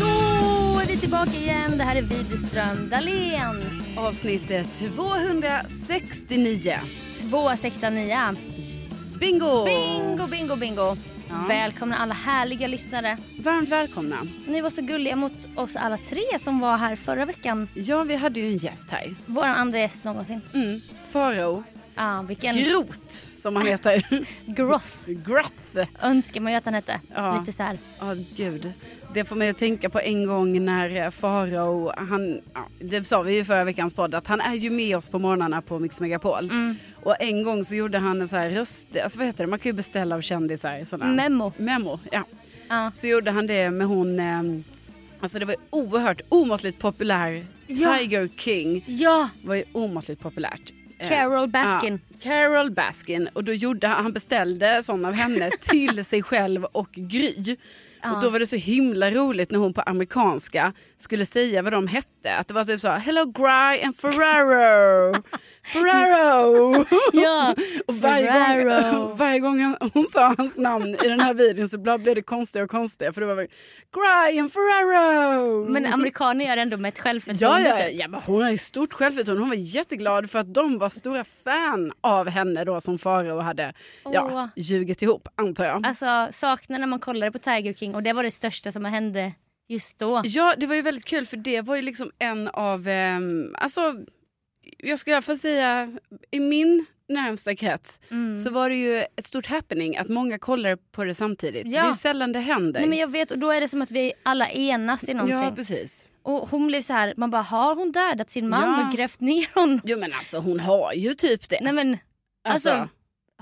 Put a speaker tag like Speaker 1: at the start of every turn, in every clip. Speaker 1: Då är vi tillbaka igen. Det här är Widerström Dahlén.
Speaker 2: Avsnittet 269.
Speaker 1: 269.
Speaker 2: Bingo!
Speaker 1: Bingo, bingo, bingo. Välkomna alla härliga lyssnare.
Speaker 2: Varmt välkomna.
Speaker 1: Ni var så gulliga mot oss alla tre som var här förra veckan.
Speaker 2: Ja, vi hade ju en gäst här.
Speaker 1: Vår andra gäst någonsin.
Speaker 2: Mm. Farao
Speaker 1: Ah, vilken
Speaker 2: Groth, som han heter.
Speaker 1: groth
Speaker 2: Groth.
Speaker 1: önskar man ju att han hette.
Speaker 2: Ja.
Speaker 1: Lite så här.
Speaker 2: Ja, gud. Det får mig att tänka på en gång när eh, Farao, han, ja, det sa vi ju i förra veckans podd, att han är ju med oss på morgnarna på Mix Megapol.
Speaker 1: Mm.
Speaker 2: Och en gång så gjorde han en så här röst, alltså vad heter det, man kan ju beställa av kändisar. Sådana.
Speaker 1: Memo.
Speaker 2: Memo, ja.
Speaker 1: Ja.
Speaker 2: Så gjorde han det med hon, eh, alltså det var ju oerhört omåttligt populär,
Speaker 1: Ja.
Speaker 2: Tiger King
Speaker 1: Ja,
Speaker 2: var ju omåttligt populärt. Eh,
Speaker 1: Carol Baskin.
Speaker 2: Ja, Carol Baskin. Och då gjorde han, han beställde sån av henne till sig själv och Gry. Och då var det så himla roligt när hon på amerikanska skulle säga vad de hette. Att det var typ så här, hello Gry and Ferraro. Ferraro.
Speaker 1: Ja,
Speaker 2: och varje
Speaker 1: Ferraro.
Speaker 2: gång, varje gång han- hon sa hans namn i den här videon så bara blev det konstigare och konstigare. För det var väl Gry and Ferraro.
Speaker 1: Men amerikaner gör det ändå med ett
Speaker 2: Ja,
Speaker 1: självförtroende.
Speaker 2: ja, ja.
Speaker 1: typ.
Speaker 2: ja men hon har ju stort självförtroende. Hon var jätteglad för att de var stora fan av henne då som Farao hade
Speaker 1: Åh.
Speaker 2: ja, ljugit ihop, antar jag.
Speaker 1: Alltså saknar när man kollade på Tiger King och det var det största som hände just då.
Speaker 2: Ja, det var ju väldigt kul för det var ju liksom en av, ehm, alltså jag skulle i alla fall säga i min närmsta krets
Speaker 1: Mm.
Speaker 2: så var det ju ett stort happening att många kollar på det samtidigt.
Speaker 1: Ja.
Speaker 2: Det är sällan det händer.
Speaker 1: Nej, men jag vet och då är det som att vi alla enas i
Speaker 2: ja,
Speaker 1: någonting.
Speaker 2: precis.
Speaker 1: och hon blev så här, man bara har hon dödat sin man
Speaker 2: Ja.
Speaker 1: och grävt ner honom?
Speaker 2: Jo men alltså hon har ju typ det.
Speaker 1: Nej men alltså,
Speaker 2: Alltså.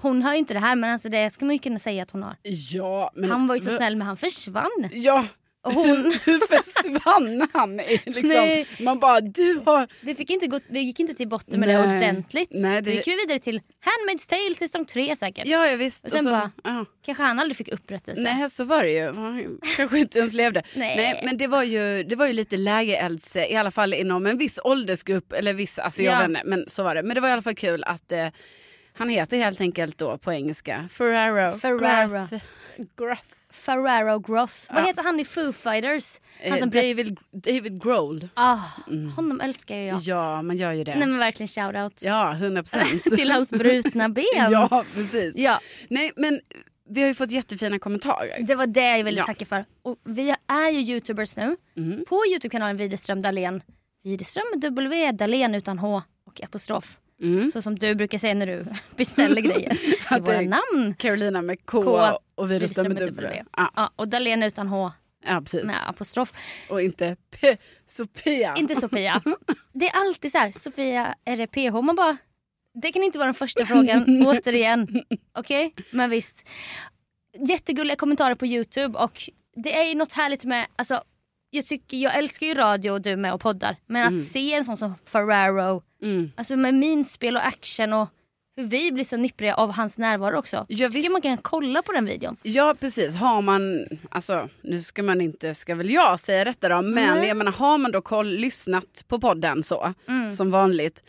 Speaker 1: hon har ju inte det här men alltså det ska man ju kunna säga att hon har.
Speaker 2: ja, men...
Speaker 1: Han var ju så snäll men han försvann.
Speaker 2: Ja,
Speaker 1: Och hon,
Speaker 2: Hur försvann han? i, Liksom.
Speaker 1: Nej.
Speaker 2: Man bara, du har...
Speaker 1: vi, fick inte gå, vi gick inte till botten med det
Speaker 2: Nej.
Speaker 1: ordentligt.
Speaker 2: Nej,
Speaker 1: Då
Speaker 2: det-
Speaker 1: gick vi vidare till Handmaid's Tale säsong tre säkert.
Speaker 2: Ja, ja visst.
Speaker 1: Och sen bara-
Speaker 2: ja.
Speaker 1: Kanske han aldrig fick upprättelse.
Speaker 2: Nej, så var det ju. Han kanske inte ens levde.
Speaker 1: Nej.
Speaker 2: men det var ju, det var ju lite lägerelds, i alla fall inom en viss åldersgrupp. Eller viss, alltså jag
Speaker 1: Ja.
Speaker 2: vet inte, men så var det. Men det var i alla fall kul att eh, han heter helt enkelt då på engelska Ferraro.
Speaker 1: Ferraro.
Speaker 2: Groth. Groth.
Speaker 1: Ferraro Gross. Vad heter han i Foo Fighters? Han som
Speaker 2: eh,
Speaker 1: blev...
Speaker 2: David, David Grohl.
Speaker 1: Ah, honom älskar ju jag.
Speaker 2: Ja, man gör ju det.
Speaker 1: Nej men verkligen shoutout.
Speaker 2: Ja, 100 procent.
Speaker 1: till hans brutna ben.
Speaker 2: Ja, precis.
Speaker 1: Ja,
Speaker 2: Nej, men vi har ju fått jättefina kommentarer.
Speaker 1: det var det jag ville
Speaker 2: Ja.
Speaker 1: tacka för. Och vi är ju youtubers nu. På Youtube-kanalen Widerström Dahlén. Widerström med W, Dahlén utan H och apostrof. Så som du brukar säga när du beställer grejer. I
Speaker 2: Att
Speaker 1: våra
Speaker 2: det-
Speaker 1: namn.
Speaker 2: Carolina med K, och Widerström med W. Ja,
Speaker 1: Ja, och Dahlén utan H
Speaker 2: ja, precis.
Speaker 1: med apostrof.
Speaker 2: Och inte P. Sofia.
Speaker 1: Inte Sofia. Det är alltid så här, Sofia är det PH? Man bara, det kan inte vara den första frågan återigen. Okej, men visst. Jättegulliga kommentarer på Youtube och det är ju något härligt med, alltså jag, tycker, jag älskar ju radio och du med och poddar. Men att se en sån som Ferraro,
Speaker 2: Mm.
Speaker 1: alltså med minspel och action och hur vi blir så nippriga av hans närvaro också.
Speaker 2: Ja,
Speaker 1: Jag tycker
Speaker 2: visst.
Speaker 1: man kan kolla på den videon.
Speaker 2: Ja precis, har man, alltså nu ska man inte, ska väl jag säga detta då, men jag menar har man då koll, lyssnat på podden så,
Speaker 1: Mm.
Speaker 2: som vanligt,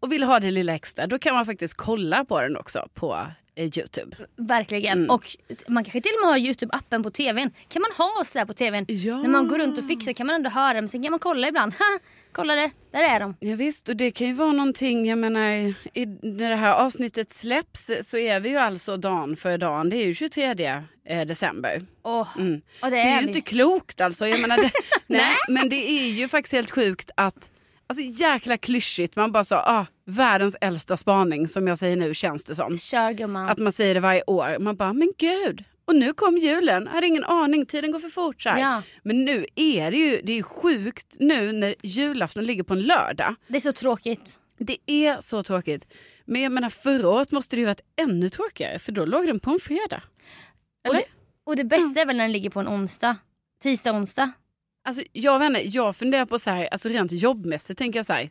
Speaker 2: och vill ha det lilla extra, då kan man faktiskt kolla på den också på eh, Youtube.
Speaker 1: Verkligen.
Speaker 2: Mm.
Speaker 1: Och man kanske till och med har Youtube-appen på tvn. Kan man ha oss där på tvn?
Speaker 2: Ja.
Speaker 1: När man går runt och fixar kan man ändå höra men sen kan man kolla ibland. Ha, kolla det, där är de.
Speaker 2: Ja, visst, och det kan ju vara någonting, jag menar, i, när det här avsnittet släpps så är vi ju alltså dan för dan, det är ju 23 eh, december.
Speaker 1: Åh,
Speaker 2: Mm.
Speaker 1: Och det,
Speaker 2: Det är,
Speaker 1: är
Speaker 2: ju
Speaker 1: vi.
Speaker 2: inte klokt alltså. Jag menar, det, nej, men det är ju faktiskt helt sjukt att, alltså jäkla klyschigt, man bara sa ah, världens äldsta spaning som jag säger nu känns det som.
Speaker 1: Kör gumman.
Speaker 2: Att man säger det varje år. Man bara, men gud. Och nu kom julen, jag hade ingen aning, tiden går för fort. Så här.
Speaker 1: Ja.
Speaker 2: Men nu är det ju, det är sjukt nu när julafton ligger på en lördag.
Speaker 1: Det är så tråkigt.
Speaker 2: Det är så tråkigt. Men jag menar förra året måste det ju varit ännu tråkigare för då låg den på en fredag.
Speaker 1: Och
Speaker 2: Eller?
Speaker 1: det, och det
Speaker 2: Mm.
Speaker 1: bästa är väl när den ligger på en onsdag. Tisdag, onsdag.
Speaker 2: Alltså, jag, vet inte, jag funderar på så här, alltså rent jobbmässigt tänker jag så här.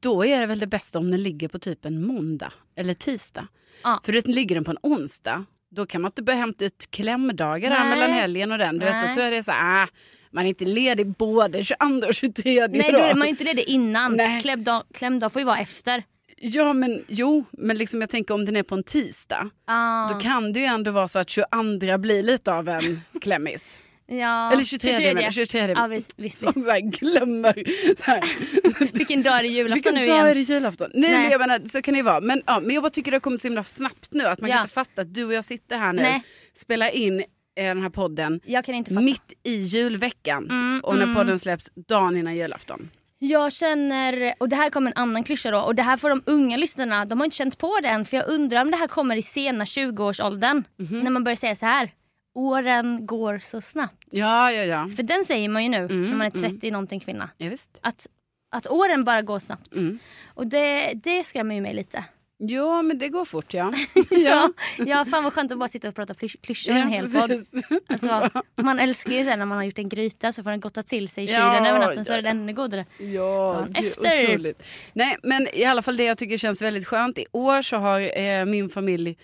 Speaker 2: Då är det väl det bästa om den ligger på typ en måndag eller tisdag.
Speaker 1: Ja.
Speaker 2: För det ligger den på en onsdag, då kan man inte börja hämta ut klämdagar där
Speaker 1: Nej.
Speaker 2: mellan helgen och den. Du vet, då
Speaker 1: Nej.
Speaker 2: tror jag det är så här, ah, man är inte ledig både 22 och 23
Speaker 1: Nej då är man ju inte ledig innan.
Speaker 2: Nej.
Speaker 1: Klämdag, klämdag får ju vara efter.
Speaker 2: Ja men jo, men liksom jag tänker om den är på en tisdag,
Speaker 1: Ah,
Speaker 2: då kan det ju ändå vara så att 22 blir lite av en klämmis.
Speaker 1: ja.
Speaker 2: Eller 23, 23. menar jag, 23.
Speaker 1: Ja, visst, visst,
Speaker 2: Som
Speaker 1: visst.
Speaker 2: så här glömmer. Så här.
Speaker 1: Vilken dag är det julafton nu
Speaker 2: Vilken dag är
Speaker 1: igen?
Speaker 2: det julafton? Nej,
Speaker 1: Nej.
Speaker 2: Men jag menar, så kan det ju vara. Men, ja, men jag bara tycker det har kommit så himla snabbt nu att man
Speaker 1: Ja.
Speaker 2: kan inte fatta att du och jag sitter här nu,
Speaker 1: Nej.
Speaker 2: spelar in eh, den här podden
Speaker 1: Jag kan inte fatta. Mm,
Speaker 2: mitt i julveckan och när podden släpps dagen innan julafton.
Speaker 1: Jag känner, och det här kommer en annan klyscha då, och det här får de unga lyssnarna, de har inte känt på det än för jag undrar om det här kommer i sena 20-årsåldern.
Speaker 2: Mhm.
Speaker 1: När man börjar säga så här, åren går så snabbt.
Speaker 2: Ja, ja, ja.
Speaker 1: För den säger man ju nu
Speaker 2: Mm,
Speaker 1: när man är 30 någonting kvinna.
Speaker 2: ja visst.
Speaker 1: Att, att åren bara går snabbt.
Speaker 2: Mm.
Speaker 1: Och det, det skrämmer ju mig lite.
Speaker 2: Ja, men det går fort ja.
Speaker 1: Ja, ja fan vad skönt att bara sitta och prata plysch- klyschor en hel podd.
Speaker 2: precis.
Speaker 1: Alltså, man älskar ju sen när man har gjort en gryta så får den gottat till sig i
Speaker 2: Ja,
Speaker 1: kylen över natten så
Speaker 2: ja,
Speaker 1: är det ännu godare.
Speaker 2: Ja,
Speaker 1: Dagen
Speaker 2: det är
Speaker 1: efter.
Speaker 2: otroligt. Nej, men i alla fall det jag tycker känns väldigt skönt. I år så har eh, min familj,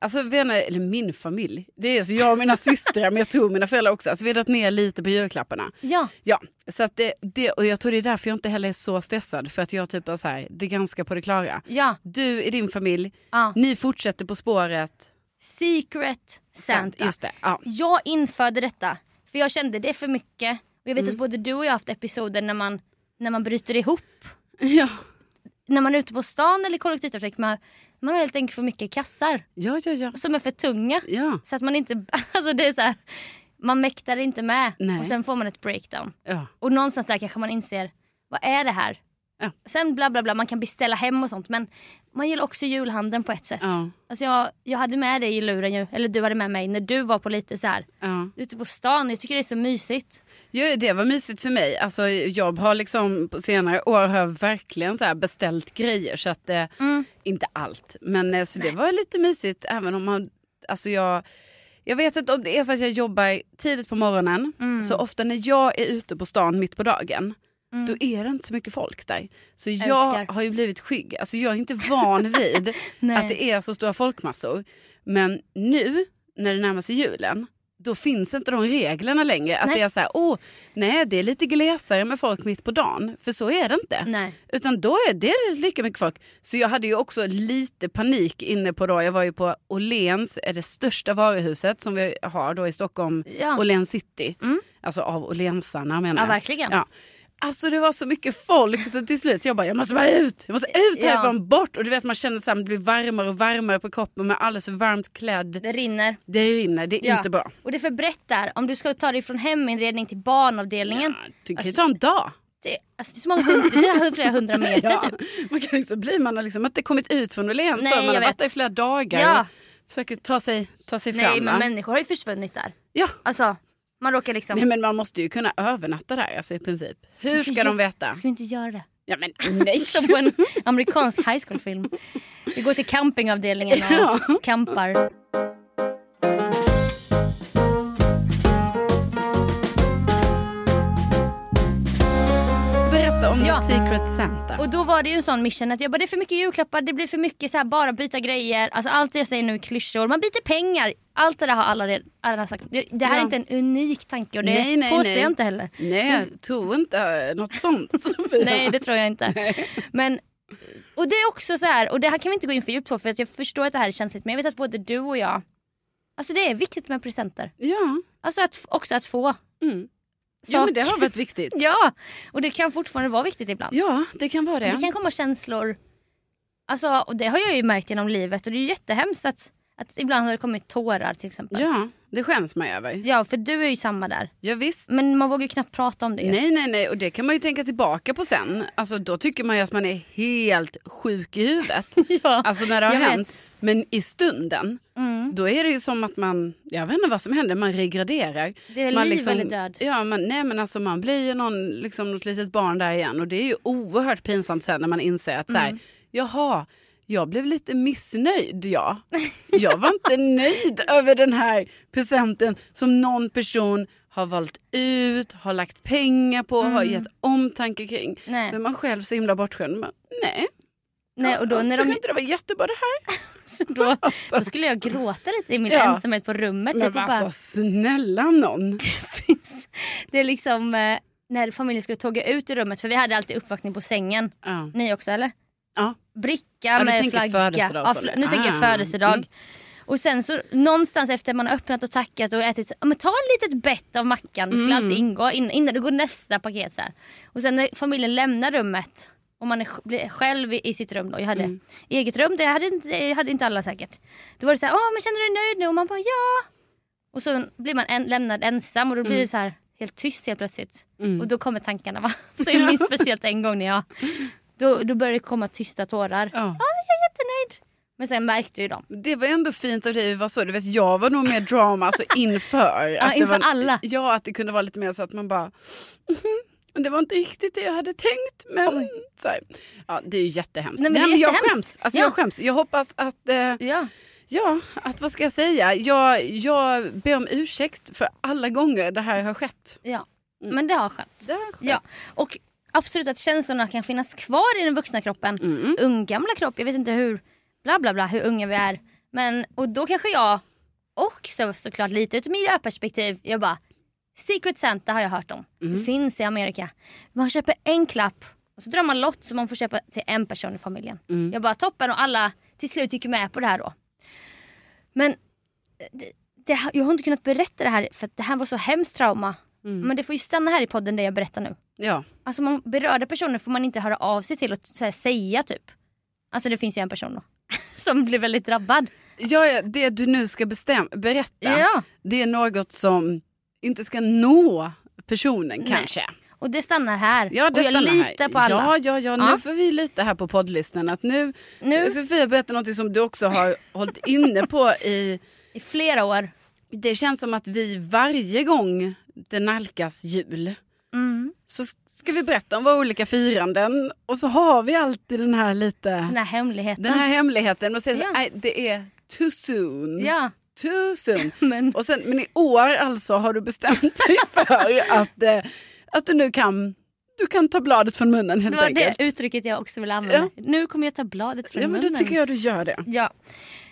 Speaker 2: alltså vi har- eller min familj, det är så jag och mina systrar, men jag tror mina föräldrar också, alltså vi har dragit ner lite på julklapparna.
Speaker 1: Ja,
Speaker 2: Ja, så att det, det, och jag tror det är därför jag inte heller är så stressad, för att jag typ är så här, det är ganska på det klara.
Speaker 1: ja.
Speaker 2: Du i din familj,
Speaker 1: Ja.
Speaker 2: ni fortsätter på spåret.
Speaker 1: Secret Santa.
Speaker 2: Just det, ja.
Speaker 1: Jag införde detta för jag kände det är för mycket. Och jag
Speaker 2: Mm.
Speaker 1: vet att både du och jag har haft episoder när man, när man bryter ihop.
Speaker 2: Ja.
Speaker 1: När man är ute på stan eller i kollektivtrafik. Man, man har helt enkelt för mycket kassar
Speaker 2: Ja, ja, ja.
Speaker 1: som är för tunga.
Speaker 2: Ja,
Speaker 1: Så att man inte, alltså det är så här, man mäktar inte med.
Speaker 2: Nej.
Speaker 1: Och sen får man ett breakdown.
Speaker 2: ja.
Speaker 1: Och någonstans där kanske man inser, vad är det här?
Speaker 2: Ja.
Speaker 1: Sen bla bla bla, man kan beställa hem och sånt men man gillar också julhandeln på ett sätt.
Speaker 2: Ja.
Speaker 1: Alltså jag, jag hade med dig i luren ju, eller du hade med mig när du var på lite så här
Speaker 2: ja.
Speaker 1: ute på stan. Jag tycker det är så mysigt.
Speaker 2: Jo, det var mysigt för mig. Alltså, jag har liksom på senare år har jag verkligen så här beställt grejer. Så att, eh,
Speaker 1: Mm.
Speaker 2: Inte allt, men eh, så det var lite mysigt. Även om man, alltså jag, jag vet inte om det är för att jag jobbar tidigt på morgonen.
Speaker 1: Mm.
Speaker 2: Så ofta när jag är ute på stan mitt på dagen, då är det inte så mycket folk där. Så jag
Speaker 1: Mm. Älskar.
Speaker 2: har ju blivit skygg. Alltså jag är inte van vid
Speaker 1: Nej.
Speaker 2: att det är så stora folkmassor. Men nu, när det närmar sig julen, då finns inte de reglerna längre. Att
Speaker 1: Nej.
Speaker 2: det är så här, oh, nej det är lite glesare med folk mitt på dagen. För så är det inte.
Speaker 1: Nej.
Speaker 2: Utan då är det lika mycket folk. Så jag hade ju också lite panik inne på då. Jag var ju på Åhléns, är det största varuhuset som vi har då i Stockholm.
Speaker 1: Ja. Mm.
Speaker 2: Åhléns city. Alltså av Åhlénsarna menar
Speaker 1: Ja,
Speaker 2: jag.
Speaker 1: verkligen.
Speaker 2: Ja. Alltså det var så mycket folk så till slut jag bara jag måste bara ut, jag måste ut
Speaker 1: Ja.
Speaker 2: härifrån, bort. Och du vet man känner så här, det blir varmare och varmare på kroppen men alldeles för varmt klädd.
Speaker 1: Det rinner.
Speaker 2: Det rinner, det är
Speaker 1: Ja.
Speaker 2: inte bra.
Speaker 1: Och det är för brett där. Om du ska ta dig från heminredning till barnavdelningen.
Speaker 2: Ja, det kan ju
Speaker 1: Alltså-
Speaker 2: ta en dag.
Speaker 1: Det, alltså det är så många hundra, det är flera hundra meter
Speaker 2: Ja.
Speaker 1: typ.
Speaker 2: Man kan liksom bli, man har liksom inte kommit ut från Åhléns
Speaker 1: Nej,
Speaker 2: så, man
Speaker 1: jag
Speaker 2: har
Speaker 1: vet.
Speaker 2: varit där i flera dagar
Speaker 1: Ja.
Speaker 2: och försöker ta sig, ta sig
Speaker 1: Nej
Speaker 2: fram.
Speaker 1: men
Speaker 2: va?
Speaker 1: människor har ju försvunnit där.
Speaker 2: Ja.
Speaker 1: Alltså man råkar liksom...
Speaker 2: Nej, men man måste ju kunna övernatta där alltså, i princip. Hur ska de veta?
Speaker 1: Ska vi inte göra det?
Speaker 2: Ja, men, nej.
Speaker 1: Som på en amerikansk high school-film. Vi går till campingavdelningen och campar. Ja.
Speaker 2: Secret Santa.
Speaker 1: Och då var det ju en sån mission att jag bara det är för mycket julklappar, det blir för mycket så här, bara byta grejer. Alltså allt det jag säger nu är klyschor. Man byter pengar. Allt det där har alla redan alla sagt. Det, det här
Speaker 2: Ja.
Speaker 1: är inte en unik tanke och det
Speaker 2: Nej, nej,
Speaker 1: påstår
Speaker 2: nej.
Speaker 1: jag inte heller.
Speaker 2: Nej, jag tror inte eh, något sånt. Sofia.
Speaker 1: Nej det tror jag inte. Men, och det är också så här, och det här kan vi inte gå in för djupt på för att jag förstår att det här är känsligt men jag vet att både du och jag, alltså det är viktigt med presenter.
Speaker 2: Ja.
Speaker 1: Alltså att, också att få.
Speaker 2: Mm. ja, men det har
Speaker 1: saker.
Speaker 2: varit viktigt.
Speaker 1: Ja, och det kan fortfarande vara viktigt ibland.
Speaker 2: Ja, det kan vara det.
Speaker 1: Det kan komma känslor. Alltså, och det har jag ju märkt genom livet och det är ju jättehemskt att, att ibland har det kommit tårar till exempel.
Speaker 2: Ja, det skäms man över.
Speaker 1: Ja, för du är ju samma där.
Speaker 2: Ja, visst.
Speaker 1: Men man vågar ju knappt prata om det. ju.
Speaker 2: Nej, nej, nej. Och det kan man ju tänka tillbaka på sen. Alltså, då tycker man ju att man är helt sjuk i huvudet.
Speaker 1: Ja,
Speaker 2: Alltså när det har
Speaker 1: jag
Speaker 2: hänt.
Speaker 1: vet.
Speaker 2: Men i stunden,
Speaker 1: Mm.
Speaker 2: då är det ju som att man, jag vet inte vad som händer, man regraderar.
Speaker 1: Det är väl
Speaker 2: man liksom
Speaker 1: liv eller död.
Speaker 2: Ja, men, nej, men alltså, man blir ju någon, liksom, något litet barn där igen. Och det är ju oerhört pinsamt sen när man inser att så här,
Speaker 1: Mm.
Speaker 2: jaha, jag blev lite missnöjd jag. Jag var inte nöjd över den här presenten som någon person har valt ut, har lagt pengar på, har gett omtanke kring.
Speaker 1: Mm. Nej.
Speaker 2: Men man själv så himla bortskämd. Men, nej,
Speaker 1: Nej, och då, när
Speaker 2: jag
Speaker 1: de,
Speaker 2: tycker inte det var jättebra det här.
Speaker 1: då, då skulle jag gråta lite i min
Speaker 2: Ja.
Speaker 1: ensamhet på rummet.
Speaker 2: Men
Speaker 1: Typ, och bara,
Speaker 2: alltså snälla någon.
Speaker 1: finns. Det är liksom eh, när familjen skulle tåga ut i rummet för vi hade alltid uppvaktning på sängen.
Speaker 2: Ja.
Speaker 1: Ni också eller?
Speaker 2: Ja.
Speaker 1: Bricka
Speaker 2: du
Speaker 1: med
Speaker 2: tänker
Speaker 1: flagga.
Speaker 2: födelsedag och
Speaker 1: ja,
Speaker 2: så,
Speaker 1: fl-
Speaker 2: eller?
Speaker 1: nu tänker
Speaker 2: Ah.
Speaker 1: jag födelsedag. Och sen så någonstans efter man har öppnat och tackat och ätit, ja, men ta ett litet bett av mackan, det skulle
Speaker 2: Mm.
Speaker 1: alltid ingå innan, innan det går nästa paket. Så här. Och sen när familjen lämnar rummet och man är, sj- blir själv i, i sitt rum då, jag hade
Speaker 2: Mm.
Speaker 1: eget rum, det hade, inte- det hade inte alla säkert. Då var det så här, ah, men känner du dig nöjd nu? Och man bara ja. Och så blir man en, lämnad ensam och då blir
Speaker 2: Mm.
Speaker 1: det så här helt tyst helt plötsligt. Och då kommer tankarna va. Så jag minns speciellt en gång när jag, då, då började det komma tysta tårar.
Speaker 2: Ja.
Speaker 1: Jättenöjd. Men sen märkte ju de.
Speaker 2: Det var ändå fint av dig att vara så. Du vet, jag var nog mer drama alltså inför. att det
Speaker 1: inför
Speaker 2: var,
Speaker 1: alla.
Speaker 2: Ja, att det kunde vara lite mer så att man bara... "Mhm, Det var inte riktigt det jag hade tänkt. Men, så här. Ja, det är ju jättehemskt.
Speaker 1: Nej, men det är
Speaker 2: jag
Speaker 1: jättehemskt.
Speaker 2: skäms. Alltså,
Speaker 1: Ja.
Speaker 2: jag skäms. Jag hoppas att... Eh,
Speaker 1: Ja.
Speaker 2: ja, att vad ska jag säga? Jag, jag ber om ursäkt för alla gånger det här har skett.
Speaker 1: ja. Mm. Men det har skönt.
Speaker 2: Det har skett.
Speaker 1: Ja. Och absolut att känslorna kan finnas kvar i den vuxna kroppen. Unggamla kropp, jag vet inte hur bla bla bla hur unga vi är. Men, och då kanske jag också såklart lite ur ett miljöperspektiv, jag bara Secret Santa har jag hört om. Det finns i Amerika. Man köper en klapp och så drar man lott så man får köpa till en person i familjen. Jag bara toppen och alla till slut gick ju med på det här då. Men det, det, jag har inte kunnat berätta det här för att det här var så hemskt trauma. Men det får ju stanna här i podden det jag berättar nu.
Speaker 2: Ja.
Speaker 1: Alltså man, berörda personer får man inte höra av sig till och så här, säga typ. Alltså det finns ju en person då. Som blir väldigt drabbad.
Speaker 2: Ja, ja, det du nu ska bestäm- berätta,
Speaker 1: Ja.
Speaker 2: det är något som inte ska nå personen kanske.
Speaker 1: Och det stannar här.
Speaker 2: Ja, det
Speaker 1: och jag
Speaker 2: stannar
Speaker 1: litar
Speaker 2: här.
Speaker 1: på alla.
Speaker 2: Ja, ja, ja, nu
Speaker 1: Ja.
Speaker 2: får vi lita här på poddlistan. Att nu, eh,
Speaker 1: Nu?
Speaker 2: Sofia berättar något som du också har hållit inne på i...
Speaker 1: I flera år.
Speaker 2: Det känns som att vi varje gång det nalkas jul
Speaker 1: Mm.
Speaker 2: så ska vi berätta om våra olika firanden och så har vi alltid den här lite...
Speaker 1: Den här hemligheten.
Speaker 2: Den här hemligheten och säger så,
Speaker 1: Ja.
Speaker 2: nej det är too soon.
Speaker 1: Ja.
Speaker 2: Too soon.
Speaker 1: Men-
Speaker 2: Och sen, men i år alltså har du bestämt dig för att, eh, att du nu kan, du kan ta bladet från munnen helt
Speaker 1: Det var det
Speaker 2: enkelt.
Speaker 1: uttrycket jag också ville använda.
Speaker 2: Ja.
Speaker 1: Nu kommer jag ta bladet från
Speaker 2: Ja men
Speaker 1: munnen.
Speaker 2: då tycker jag du gör det.
Speaker 1: Ja.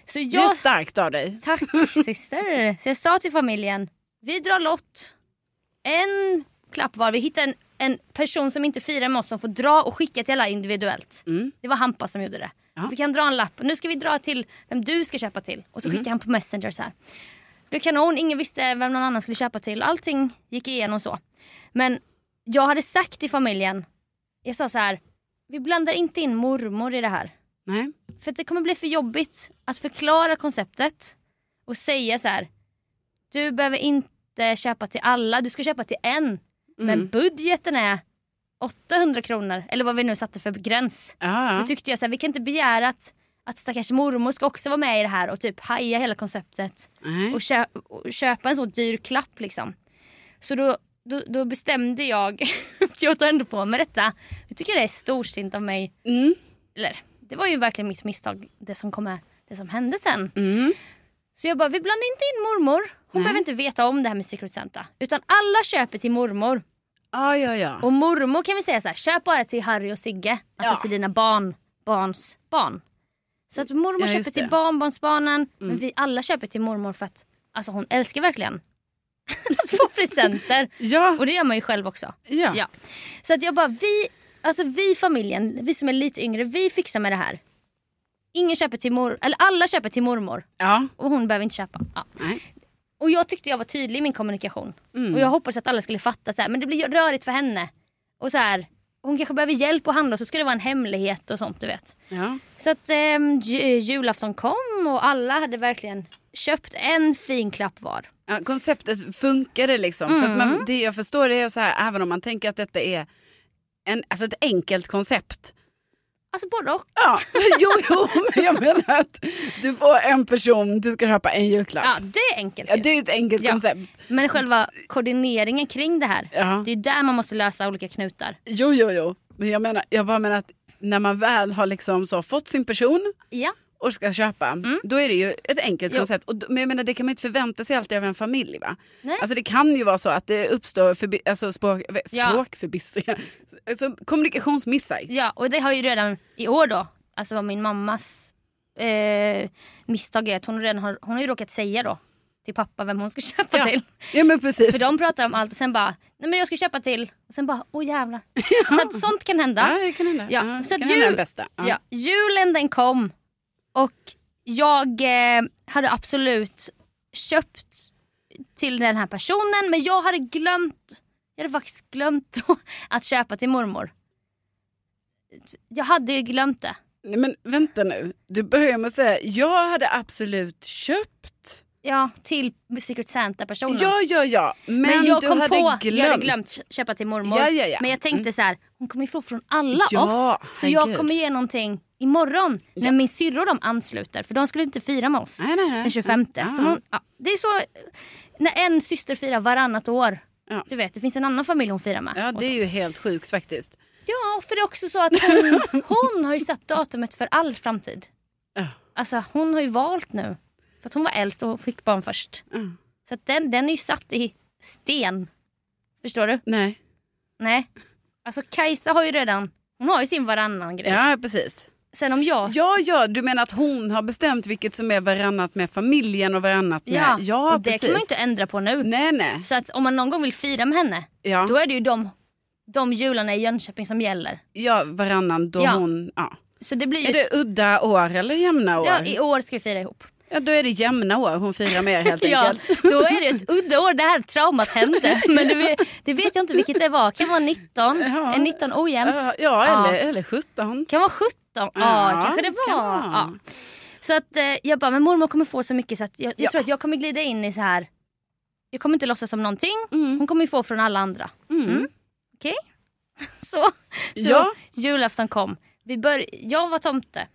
Speaker 1: Så
Speaker 2: Det är
Speaker 1: jag...
Speaker 2: starkt av dig.
Speaker 1: Tack syster. Så jag sa till familjen, vi drar lott. En klapp var. Vi hittar en, en person som inte firar med oss som får dra och skicka till alla individuellt. Det var Hampa som gjorde det.
Speaker 2: Ja.
Speaker 1: Vi kan dra en lapp. Nu ska vi dra till vem du ska köpa till. Och så skickar han på Messenger så här. Det blev kanon, ingen visste vem någon annan skulle köpa till. Allting gick igenom så. Men jag hade sagt till familjen, jag sa så här. Vi blandar inte in mormor i det här.
Speaker 2: Nej.
Speaker 1: För att det kommer bli för jobbigt att förklara konceptet och säga så här. Du behöver inte köpa till alla, du ska köpa till en. Men budgeten är 800 kronor, eller vad vi nu satte för gräns.
Speaker 2: Ja,
Speaker 1: Då
Speaker 2: ja.
Speaker 1: tyckte jag så här, vi kan inte begära att, att stackars mormor ska också vara med i det här och typ haja hela konceptet
Speaker 2: Nej.
Speaker 1: och, kö- och köpa en sån dyr klapp liksom. Så då, då, då bestämde jag att jag tar ändå på mig detta. Jag tycker det är storsint av mig. Eller, det var ju verkligen mitt misstag, det som, kom här, det som hände sen. Så jag bara, vi blandar inte in mormor. Hon behöver inte veta om det här med Secret Santa. Utan alla köper till mormor.
Speaker 2: Ja, ja, ja.
Speaker 1: Och mormor kan vi säga så här, köp bara till Harry och Sigge. Alltså
Speaker 2: Ja.
Speaker 1: till dina barn, barns barn. Så att mormor
Speaker 2: Ja,
Speaker 1: köper
Speaker 2: just
Speaker 1: till
Speaker 2: det. Mm.
Speaker 1: barnbarnsbarnen men vi alla köper till mormor för att alltså hon älskar verkligen att få presenter.
Speaker 2: ja,
Speaker 1: Och det gör man ju själv också.
Speaker 2: ja.
Speaker 1: Ja. Så att jag bara, vi, alltså vi familjen, vi som är lite yngre, vi fixar med det här. Ingen köper till mor, eller alla köper till mormor
Speaker 2: ja.
Speaker 1: och hon behöver inte köpa. Ja.
Speaker 2: Nej.
Speaker 1: Och jag tyckte jag var tydlig i min kommunikation.
Speaker 2: Mm.
Speaker 1: Och jag hoppades att alla skulle fatta så här, men det blir rörigt för henne. Och så här, hon kanske behöver hjälp att handla så ska det vara en hemlighet och sånt du vet.
Speaker 2: ja.
Speaker 1: Så att ehm, ju, julafton kom och alla hade verkligen köpt en fin klapp var.
Speaker 2: Ja, konceptet funkade liksom. För att
Speaker 1: Mm.
Speaker 2: man, det jag förstår det är så här, även om man tänker att detta är en, alltså ett enkelt koncept.
Speaker 1: Alltså både och.
Speaker 2: Ja, så, jo, jo, men jag menar att du får en person, du ska köpa en julklapp.
Speaker 1: Ja det är enkelt
Speaker 2: Ja,
Speaker 1: ju.
Speaker 2: det är ju ett enkelt
Speaker 1: Ja.
Speaker 2: koncept.
Speaker 1: Men själva koordineringen kring det här.
Speaker 2: Ja.
Speaker 1: Det är ju där man måste lösa olika knutar.
Speaker 2: Jo, jo, jo. Men jag menar, jag bara menar att när man väl har liksom så fått sin person
Speaker 1: Ja.
Speaker 2: och ska köpa, då är det ju ett enkelt
Speaker 1: Mm. Jo.
Speaker 2: koncept. Och, d- men jag menar, det kan man ju inte förvänta sig alltid av en familj. Va?
Speaker 1: Nej.
Speaker 2: Alltså, det kan ju vara så att det uppstår förbi- alltså, språk,
Speaker 1: Ja.
Speaker 2: språkförbistringar, alltså, kommunikationsmissar.
Speaker 1: Ja, och det har ju redan i år då, alltså var min mammas eh, misstag är att hon, redan har, hon har ju råkat säga då till pappa vem hon ska köpa
Speaker 2: Ja.
Speaker 1: till.
Speaker 2: ja, men precis.
Speaker 1: För de pratar om allt och sen bara, nej men jag ska köpa till. Och sen bara, åh jävlar. Så att sånt kan hända.
Speaker 2: Ja, det kan hända.
Speaker 1: Ja,
Speaker 2: Ja,
Speaker 1: så
Speaker 2: det
Speaker 1: att
Speaker 2: kan
Speaker 1: ju-
Speaker 2: hända den bästa. Ja.
Speaker 1: Ja, julen den kom och jag eh, hade absolut köpt till den här personen men jag hade glömt, jag hade faktiskt glömt då att köpa till mormor. Jag hade ju glömt det.
Speaker 2: Nej, men vänta nu. Du börjar med att säga, jag hade absolut köpt.
Speaker 1: Ja, till Secret Santa-personen.
Speaker 2: Ja, ja, ja. Men,
Speaker 1: men jag
Speaker 2: du
Speaker 1: kom
Speaker 2: hade
Speaker 1: på,
Speaker 2: glömt.
Speaker 1: jag hade glömt köpa till mormor.
Speaker 2: Ja, ja, ja.
Speaker 1: Men jag tänkte så här, hon kommer ifrån från alla
Speaker 2: Ja,
Speaker 1: oss. Så jag
Speaker 2: herregud.
Speaker 1: kommer ge någonting imorgon när min syrra och de ansluter. För de skulle inte fira med oss.
Speaker 2: Nej, Ah. nej, nej.
Speaker 1: Den 25.
Speaker 2: Ja.
Speaker 1: Så hon, ja, det är så när en syster firar varannat år.
Speaker 2: Ja.
Speaker 1: Du vet, det finns en annan familj hon firar med.
Speaker 2: Ja,
Speaker 1: och
Speaker 2: det är ju helt sjukt faktiskt.
Speaker 1: Ja, för det är också så att hon, hon har ju satt datumet för all framtid.
Speaker 2: Ja.
Speaker 1: Alltså hon har ju valt nu. För att hon var äldst och fick barn först.
Speaker 2: Mm.
Speaker 1: Så att den, den är ju satt i sten. Förstår du?
Speaker 2: Nej.
Speaker 1: Nej. Alltså Kajsa har ju redan, hon har ju sin varannan grej.
Speaker 2: Ja, precis.
Speaker 1: Sen om jag...
Speaker 2: Ja, ja, du menar att hon har bestämt vilket som är varannat med familjen och varannat med...
Speaker 1: Ja,
Speaker 2: ja
Speaker 1: och det
Speaker 2: precis.
Speaker 1: kan man ju inte ändra på nu.
Speaker 2: Nej, nej.
Speaker 1: Så att om man någon gång vill fira med henne,
Speaker 2: Ja,
Speaker 1: då är det ju de, de jularna i Jönköping som gäller.
Speaker 2: ja varannan då
Speaker 1: Ja.
Speaker 2: hon... Ja.
Speaker 1: Så det blir ju...
Speaker 2: Är det udda år eller jämna år?
Speaker 1: ja, I år ska vi fira ihop.
Speaker 2: Ja, då är det jämna år hon firar med er helt
Speaker 1: Ja,
Speaker 2: enkelt.
Speaker 1: då är det ett udda år det här traumat hände. Men det, vet- det vet jag inte vilket det var. Kan vara 19,
Speaker 2: Ja.
Speaker 1: är 19
Speaker 2: Ja,
Speaker 1: ojämnt?
Speaker 2: ja,
Speaker 1: Ja.
Speaker 2: eller, eller 17.
Speaker 1: Kan vara 17, ja,
Speaker 2: Ja,
Speaker 1: kanske det var.
Speaker 2: kan vara.
Speaker 1: ja. Så att eh, jag bara, men mormor kommer få så mycket så att jag, jag
Speaker 2: Ja.
Speaker 1: tror att jag kommer glida in i så här. Jag kommer inte låtsas som någonting.
Speaker 2: Mm,
Speaker 1: Hon kommer ju få från alla andra. Mm. Okej? Så, så
Speaker 2: Ja.
Speaker 1: julafton kom. Vi bör, jag var tomte.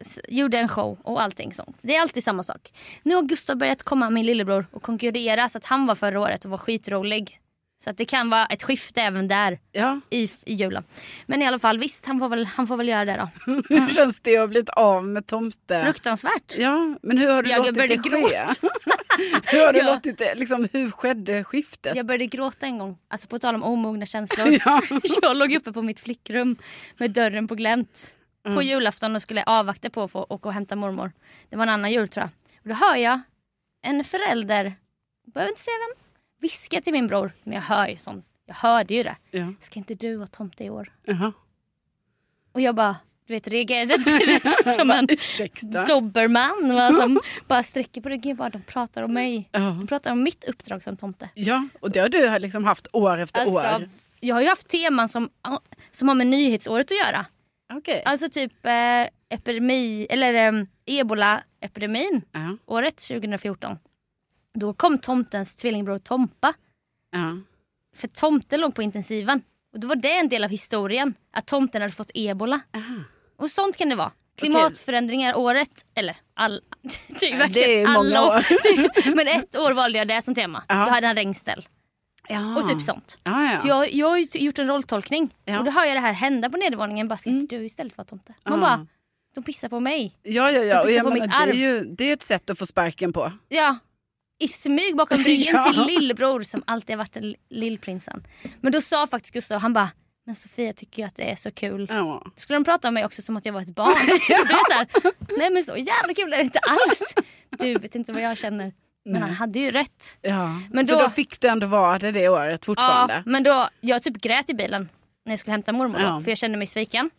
Speaker 1: S- Gjorde en show och allting sånt. Det är alltid samma sak. Nu har Gustav börjat komma, min lillebror, och konkurrera så att han var förra året och var skitrolig. Så att det kan vara ett skifte även där
Speaker 2: Ja.
Speaker 1: i, i julen. Men i alla fall visst, han får väl, han får väl göra det då. Mm.
Speaker 2: Hur känns det att ha blivit av med tomten?
Speaker 1: Fruktansvärt.
Speaker 2: Ja, men hur har du
Speaker 1: Jag
Speaker 2: låtit
Speaker 1: började
Speaker 2: det ske?
Speaker 1: gråta.
Speaker 2: hur har du
Speaker 1: Ja.
Speaker 2: låtit det, liksom, hur skedde skiftet?
Speaker 1: Jag började gråta en gång, alltså på tal om omogna känslor. Jag låg uppe på mitt flickrum med dörren på glänt
Speaker 2: Mm.
Speaker 1: på julafton och skulle avvakta på att få åka och hämta mormor. Det var en annan jul tror jag. Och då hör jag en förälder, behöver inte säga vem, viska till min bror. Men jag hör ju sånt. Jag hörde ju det.
Speaker 2: Ja.
Speaker 1: Ska inte du vara tomte i år?
Speaker 2: Jaha.
Speaker 1: Och jag bara, du vet reagerade direkt som en
Speaker 2: Ursäkta.
Speaker 1: doberman va, som bara sträcker på ryggen. Jag bara, de pratar om mig.
Speaker 2: Ja.
Speaker 1: De pratar om mitt uppdrag som tomte.
Speaker 2: Ja, och det har du liksom haft år efter
Speaker 1: Alltså,
Speaker 2: år.
Speaker 1: jag har ju haft teman som, som har med nyhetsåret att göra.
Speaker 2: Okej.
Speaker 1: Alltså typ eh, epidemi, eller eh, ebola-epidemin,
Speaker 2: Ja,
Speaker 1: året 2014. Då kom tomtens tvillingbror Tompa.
Speaker 2: ja.
Speaker 1: För tomten låg på intensiven. Och då var det en del av historien, att tomten hade fått ebola.
Speaker 2: Aha.
Speaker 1: Och sånt kan det vara. Klimatförändringar året, eller all, det är ju verkligen
Speaker 2: det är
Speaker 1: alla
Speaker 2: många år.
Speaker 1: Typ, Men ett år valde jag det som tema.
Speaker 2: Ja.
Speaker 1: Då hade han regnställ.
Speaker 2: ja.
Speaker 1: Och typ sånt.
Speaker 2: Ja, ja.
Speaker 1: Så jag, jag har ju gjort en rolltolkning
Speaker 2: Ja. Mm.
Speaker 1: och då hör jag det här hända på nedervåningen. Bara, ska inte du istället vara tomte? Man
Speaker 2: Ah.
Speaker 1: bara, de pissar på mig.
Speaker 2: ja, ja, ja.
Speaker 1: Du
Speaker 2: Och
Speaker 1: pissar
Speaker 2: jag
Speaker 1: på
Speaker 2: menar,
Speaker 1: mitt
Speaker 2: det, är
Speaker 1: arv.
Speaker 2: ju, det är ett sätt att få sparken på.
Speaker 1: Ja, i smyg bakom ryggen
Speaker 2: Ja.
Speaker 1: till lillbror som alltid har varit den li- lillprinsen. Men då sa faktiskt Gustav, han bara, men Sofia tycker ju att det är så kul.
Speaker 2: Ja.
Speaker 1: Då skulle de prata om mig också som att jag var ett barn. Då blev jag så här, Nej men så jävla kul är det inte alls. Du vet inte vad jag känner. Men han hade ju rätt.
Speaker 2: Ja.
Speaker 1: Men
Speaker 2: Så
Speaker 1: då-
Speaker 2: då fick du ändå vara det det året fortfarande?
Speaker 1: men då, jag typ grät i bilen när jag skulle hämta mormor då,
Speaker 2: Ja.
Speaker 1: för jag kände mig sviken.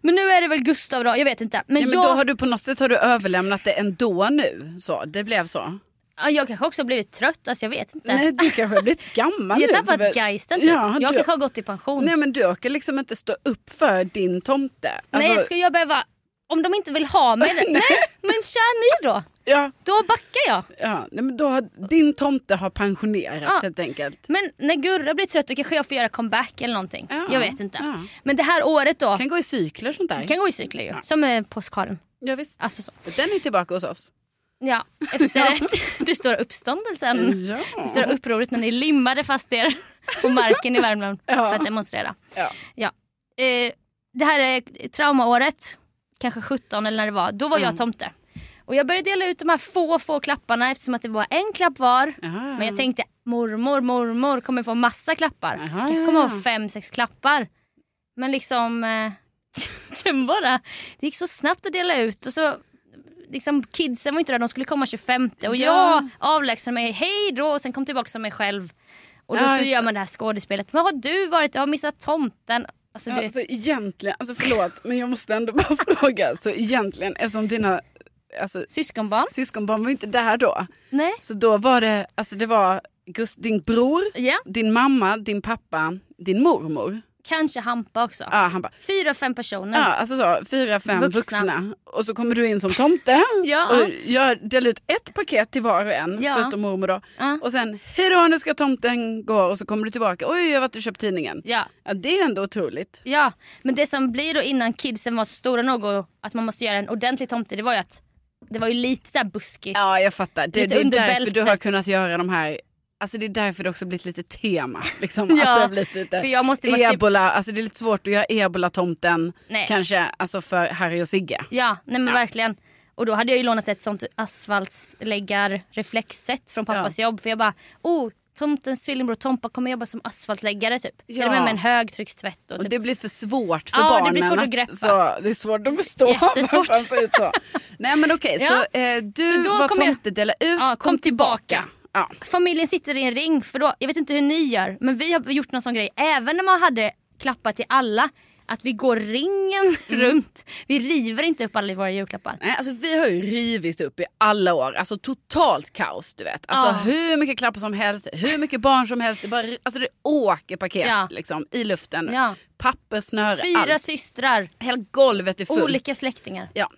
Speaker 1: Men nu är det väl Gustav då, jag vet inte. Men,
Speaker 2: Ja, men
Speaker 1: jag,
Speaker 2: då har du på något sätt har du överlämnat det ändå nu. Så, det blev så.
Speaker 1: ja, jag kanske också har blivit trött, alltså jag vet inte.
Speaker 2: Nej, du kanske har blivit gammal
Speaker 1: jag
Speaker 2: nu,
Speaker 1: har tappat
Speaker 2: Sofia.
Speaker 1: geisten typ.
Speaker 2: Ja,
Speaker 1: jag
Speaker 2: du-
Speaker 1: kanske har gått i pension.
Speaker 2: Nej men du orkar liksom inte stå upp för din tomte. Alltså,
Speaker 1: Nej, ska jag behöva... Om de inte vill ha mig... nej, men kör ni då.
Speaker 2: ja,
Speaker 1: Då backar jag.
Speaker 2: ja, nej, men då har, din tomte har pensionerats
Speaker 1: Ja.
Speaker 2: helt enkelt.
Speaker 1: Men när Gurra blir trött då kanske jag får göra comeback eller någonting.
Speaker 2: Ja,
Speaker 1: jag vet inte.
Speaker 2: ja.
Speaker 1: Men det här året då.
Speaker 2: Kan gå i cykler sånt där.
Speaker 1: Det kan gå i cykler ju. Som eh, påskharen.
Speaker 2: Ja, visst.
Speaker 1: Alltså så.
Speaker 2: Den är tillbaka hos oss.
Speaker 1: Ja, efterrätt. Det stora uppståndelsen.
Speaker 2: Ja.
Speaker 1: Det stora upproret när ni limmade fast er på marken i Värmland för att demonstrera.
Speaker 2: Ja.
Speaker 1: Ja. Eh, det här är traumaåret, kanske 17 eller när det var. Då var
Speaker 2: Mm.
Speaker 1: jag tomte. Och jag började dela ut de här få, få klapparna eftersom att det var en klapp var. Men
Speaker 2: Mm.
Speaker 1: jag tänkte mormor, mormor kommer få massa klappar.
Speaker 2: Aha,
Speaker 1: Kanske
Speaker 2: ja,
Speaker 1: kommer
Speaker 2: ja.
Speaker 1: ha fem, sex klappar. Men liksom, eh, den bara, det gick så snabbt att dela ut. Och så liksom, kidsen var inte där, de skulle komma 25 och
Speaker 2: Ja.
Speaker 1: jag avlägsnade mig, hej då, och sen kom tillbaka som mig själv. Och då
Speaker 2: Ja,
Speaker 1: så
Speaker 2: just
Speaker 1: gör man det här skådespelet. Vad har du varit? Jag har missat tomten. Alltså, du
Speaker 2: Alltså
Speaker 1: vet,
Speaker 2: egentligen, alltså förlåt men jag måste ändå bara fråga. Så egentligen eftersom dina alltså,
Speaker 1: syskonbarn?
Speaker 2: syskonbarn var ju inte där då.
Speaker 1: Nej.
Speaker 2: Så då var det, alltså det var Gust- din bror,
Speaker 1: Ja,
Speaker 2: din mamma, din pappa, din mormor.
Speaker 1: kanske Hampa också.
Speaker 2: Ja, han bara,
Speaker 1: Fyra, fem personer.
Speaker 2: ja, alltså så, fyra, fem
Speaker 1: Vuxna.
Speaker 2: vuxna. Och så kommer du in som tomte
Speaker 1: Ja.
Speaker 2: och jag delar ut ett paket till var och en,
Speaker 1: Ja.
Speaker 2: förutom mormor då.
Speaker 1: Ja.
Speaker 2: Och sen, hejdå nu ska tomten gå och så kommer du tillbaka, oj jag har varit och köpt tidningen.
Speaker 1: Ja.
Speaker 2: Ja, det är ändå otroligt.
Speaker 1: Ja, men det som blir då innan kidsen var stora nog och att man måste göra en ordentlig tomte, det var ju att det var ju lite så här buskis.
Speaker 2: Ja jag fattar, det,
Speaker 1: Lite
Speaker 2: det är
Speaker 1: under
Speaker 2: därför du har
Speaker 1: bältet.
Speaker 2: kunnat göra de här Alltså det är därför det också blivit lite tema. Liksom,
Speaker 1: Ja,
Speaker 2: att det har blivit lite
Speaker 1: för jag måste ju vara
Speaker 2: ebola, alltså det är lite svårt att göra ebola-tomten
Speaker 1: Nej.
Speaker 2: kanske alltså för Harry och Sigge.
Speaker 1: Ja, nej men verkligen. Och då hade jag ju lånat ett sånt asfaltsläggarreflexset från pappas jobb. För jag bara, oh, tomtens tvillingbror Tompa kommer jobba som asfaltläggare typ.
Speaker 2: Ja.
Speaker 1: Eller med, med en högtryckstvätt och
Speaker 2: Och
Speaker 1: typ.
Speaker 2: det blir för svårt för
Speaker 1: Ja, det
Speaker 2: barnen.
Speaker 1: blir svårt att greppa.
Speaker 2: Så det är svårt att förstå.
Speaker 1: Jättesvårt.
Speaker 2: varför han ser ut så. Nej men okej,
Speaker 1: Ja.
Speaker 2: så eh, du
Speaker 1: Så då
Speaker 2: var
Speaker 1: kom jag-
Speaker 2: tomte, dela ut,
Speaker 1: Ja, kom tillbaka.
Speaker 2: Ja.
Speaker 1: Familjen sitter i en ring, för då, jag vet inte hur ni gör, men vi har gjort någon sån grej. Även när man hade klappar till alla, att vi går ringen
Speaker 2: Mm.
Speaker 1: runt. Vi river inte upp alla våra julklappar.
Speaker 2: Nej, alltså vi har ju rivit upp i alla år, alltså totalt kaos du vet. Alltså
Speaker 1: Ja.
Speaker 2: hur mycket klappar som helst, hur mycket barn som helst, det, bara, alltså, det åker paket
Speaker 1: Ja.
Speaker 2: liksom, i luften.
Speaker 1: Ja.
Speaker 2: Papper, snöre,
Speaker 1: Fyra
Speaker 2: allt.
Speaker 1: systrar,
Speaker 2: Hela golvet är fullt.
Speaker 1: olika släktingar.
Speaker 2: Ja.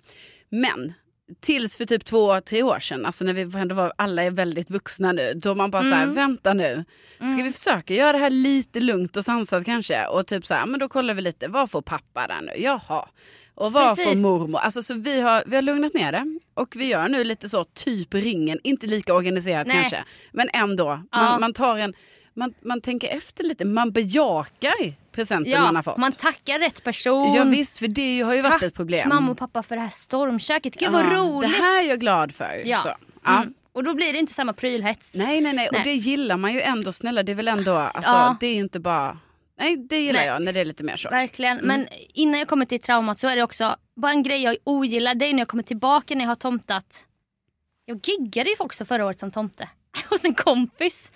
Speaker 2: Men tills för typ två, tre år sedan, alltså när vi ändå var, alla är väldigt vuxna nu, då man bara
Speaker 1: Mm.
Speaker 2: så här, vänta nu, ska vi försöka göra det här lite lugnt och sansat kanske? Och typ så här, men då kollar vi lite, vad får pappa där nu? Jaha. Och vad
Speaker 1: Precis.
Speaker 2: får mormor? Alltså så vi har, vi har lugnat ner det och vi gör nu lite så typ ringen, inte lika organiserat
Speaker 1: Nej.
Speaker 2: kanske, men ändå. Man,
Speaker 1: Ja.
Speaker 2: man tar en, man, man tänker efter lite, man bejakar presenten man har fått.
Speaker 1: man tackar rätt person.
Speaker 2: Ja visst, för det är ju- har ju varit ett problem.
Speaker 1: mamma och pappa för det här stormköket. Gud vad
Speaker 2: Ja,
Speaker 1: roligt!
Speaker 2: Det här är jag glad för.
Speaker 1: Ja.
Speaker 2: Så. Ja.
Speaker 1: Mm. Och då blir det inte samma prylhets.
Speaker 2: Nej, nej, nej. Och
Speaker 1: Nej.
Speaker 2: det gillar man ju ändå. Snälla, det är väl ändå... Alltså,
Speaker 1: Ja.
Speaker 2: Det är ju inte bara... Nej, det gillar
Speaker 1: Nej.
Speaker 2: jag när det är lite mer så.
Speaker 1: Verkligen.
Speaker 2: Mm.
Speaker 1: Men innan jag kommer till traumat så är det också bara en grej jag ogillar. Det är när jag kommer tillbaka när jag har tomtat. Jag giggade ju också förra året som tomte. Hos en kompis.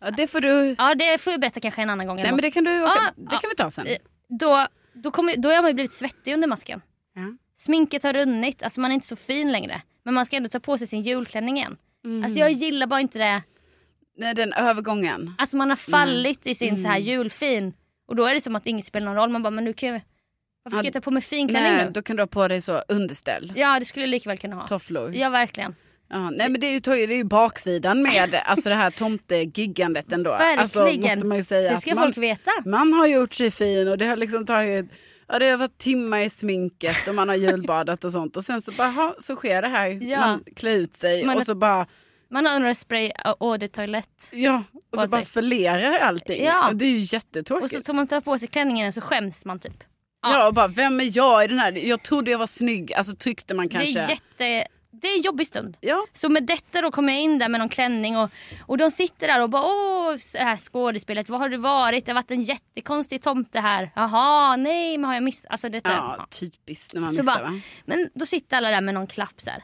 Speaker 2: Ja, det får du...
Speaker 1: Ja det får jag berätta kanske en annan gång.
Speaker 2: Nej, men det kan du åka...
Speaker 1: Ja,
Speaker 2: Det
Speaker 1: ja.
Speaker 2: kan vi ta sen.
Speaker 1: Eh, då, då, kommer, då har man ju blivit svettig under masken.
Speaker 2: Ja.
Speaker 1: Sminket har runnit, alltså man är inte så fin längre. Men man ska ändå ta på sig sin julklänning igen.
Speaker 2: Mm.
Speaker 1: Alltså jag gillar bara inte det.
Speaker 2: Nej, Den övergången.
Speaker 1: Alltså man har fallit i sin
Speaker 2: Mm.
Speaker 1: så här julfin. Och då är det som att inget spelar någon roll. Man bara, men nu kan jag... Varför ska
Speaker 2: Ja,
Speaker 1: jag ta på mig fin klänning
Speaker 2: Nej,
Speaker 1: nu?
Speaker 2: då kan du ha på dig så underställ.
Speaker 1: Ja det skulle jag lika väl kunna ha.
Speaker 2: Tofflor.
Speaker 1: Ja verkligen.
Speaker 2: Ja, nej men det är, ju, det är ju baksidan med alltså det här tomtegiggandet ändå. Alltså,
Speaker 1: Verkligen.
Speaker 2: måste man ju säga.
Speaker 1: Det
Speaker 2: att
Speaker 1: ska
Speaker 2: man,
Speaker 1: folk veta.
Speaker 2: Man har gjort sig fin och det har liksom tagit ja, det har varit timmar i sminket och man har julbadat och sånt. Och sen så bara, ha, så sker det här.
Speaker 1: Ja.
Speaker 2: Man klär ut sig
Speaker 1: Man-
Speaker 2: och så bara,
Speaker 1: Man har några spray och det toalett.
Speaker 2: ja, och
Speaker 1: På
Speaker 2: så bara
Speaker 1: sig.
Speaker 2: förlerar allting.
Speaker 1: Ja.
Speaker 2: Och det är ju
Speaker 1: Och
Speaker 2: jättetråkigt.
Speaker 1: så tar man tar på sig klänningen så skäms man typ.
Speaker 2: ja. och bara, vem är jag i den här? Jag trodde jag var snygg. Alltså tyckte man kanske.
Speaker 1: Det är jätte... det är en jobbig stund.
Speaker 2: Ja.
Speaker 1: Så med detta då kommer jag in där med någon klänning och, och de sitter där och bara åh det här skådespelet, vad har du varit? Det har varit en jättekonstig tomte här. Jaha, nej men har jag missat? Alltså detta.
Speaker 2: Ja,
Speaker 1: ja.
Speaker 2: typiskt när man
Speaker 1: Så
Speaker 2: missar
Speaker 1: bara,
Speaker 2: va?
Speaker 1: Men då sitter alla där med någon klapp så här.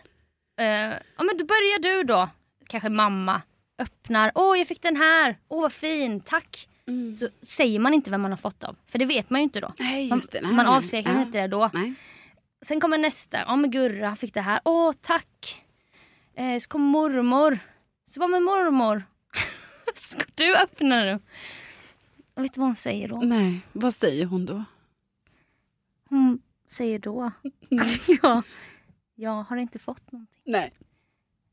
Speaker 1: Eh, ja men då börjar du då, kanske mamma, öppnar. Åh jag fick den här, åh vad fin, tack. Så säger man inte vem man har fått av, för det vet man ju inte då.
Speaker 2: Mm. Nej,
Speaker 1: man
Speaker 2: just det. Nej,
Speaker 1: man
Speaker 2: nej.
Speaker 1: avslöjar
Speaker 2: Ja.
Speaker 1: kanske inte det då.
Speaker 2: Nej.
Speaker 1: Sen kommer nästa. Ja men Gurra fick det här. Åh tack. Eh, så kom mormor. Så var med mormor. Ska du öppna nu? Jag vet du vad hon säger då?
Speaker 2: nej, vad säger hon då?
Speaker 1: Hon säger då. ja, jag har inte fått någonting.
Speaker 2: Nej.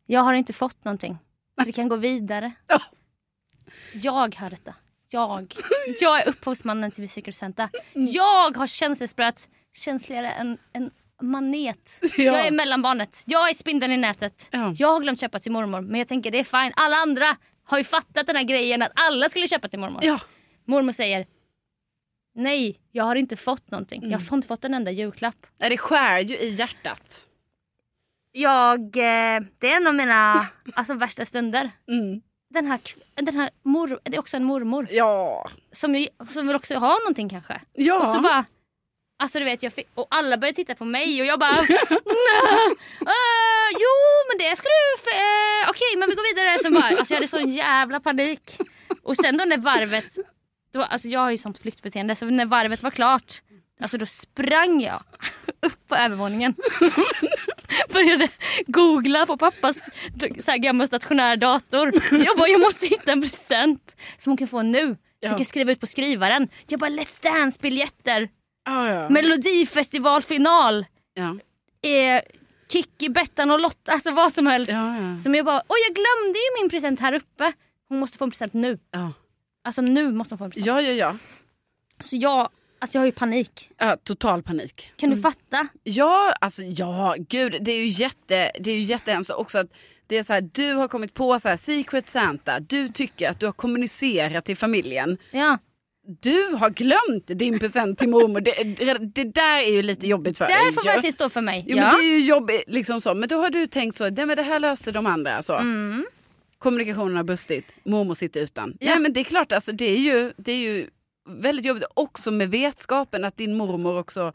Speaker 1: Jag har inte fått någonting. Så vi kan gå vidare.
Speaker 2: Ja.
Speaker 1: Jag har detta. Jag. Jag är upphovsmannen till Secret Santa. Jag har känselspröt känsligare än en manet.
Speaker 2: Ja.
Speaker 1: Jag är mellanbarnet. Jag är spindeln i nätet.
Speaker 2: Ja.
Speaker 1: Jag har glömt köpa till mormor men jag tänker det är fine. Alla andra har ju fattat den här grejen att alla skulle köpa till mormor.
Speaker 2: Ja.
Speaker 1: Mormor säger Nej, jag har inte fått någonting. Jag
Speaker 2: Mm.
Speaker 1: har inte fått en enda julklapp.
Speaker 2: Nej, det skär ju i hjärtat.
Speaker 1: Jag, eh, det är en av mina alltså, värsta stunder.
Speaker 2: Mm.
Speaker 1: Den här, kv- den här mor, det är också en mormor
Speaker 2: Ja.
Speaker 1: som, ju- som vill också ha någonting kanske.
Speaker 2: Ja.
Speaker 1: Och så bara, alltså du vet jag fick, och alla började titta på mig och jag bara "Nä, eh, Jo men det ska du, f- eh, okej men vi går vidare. Så bara, alltså jag hade sån jävla panik. Och sen då när varvet, då, alltså jag har ju sånt flyktbeteende så när varvet var klart, alltså då sprang jag upp på övervåningen. Började googla på pappas så här, gamla stationära dator. Jag bara, jag måste hitta en present som hon kan få nu. Så jag kan skriva ut på skrivaren. Jag bara, Let's Dance-biljetter.
Speaker 2: Ja, ja.
Speaker 1: Melodifestivalfinal.
Speaker 2: ja.
Speaker 1: Eh, Kikki, Bettan och Lotta. Alltså vad som helst.
Speaker 2: Ja, ja.
Speaker 1: Som jag bara, oj jag glömde ju min present här uppe. Hon måste få en present nu.
Speaker 2: ja.
Speaker 1: Alltså nu måste hon få en present.
Speaker 2: Ja, ja, ja.
Speaker 1: Så jag, alltså jag har ju panik.
Speaker 2: ja total panik.
Speaker 1: Kan du fatta?
Speaker 2: Ja, alltså ja, gud. Det är ju, jätte, det är ju jättehemskt också att det är så här, du har kommit på så här, Secret Santa. Du tycker att du har kommunicerat till familjen.
Speaker 1: Ja.
Speaker 2: Du har glömt din present till mormor. Det, det, det där är ju lite jobbigt för
Speaker 1: Det
Speaker 2: dig.
Speaker 1: får
Speaker 2: ju.
Speaker 1: verkligen stå för mig.
Speaker 2: Jo,
Speaker 1: ja.
Speaker 2: men det är ju jobbigt. Liksom så. Men då har du tänkt så, nej, men det här löser de andra. Så.
Speaker 1: Mm.
Speaker 2: Kommunikationen har brustit, mormor sitter utan. Nej, men det är klart, alltså, det, är ju, det är ju väldigt jobbigt också med vetskapen att din mormor också,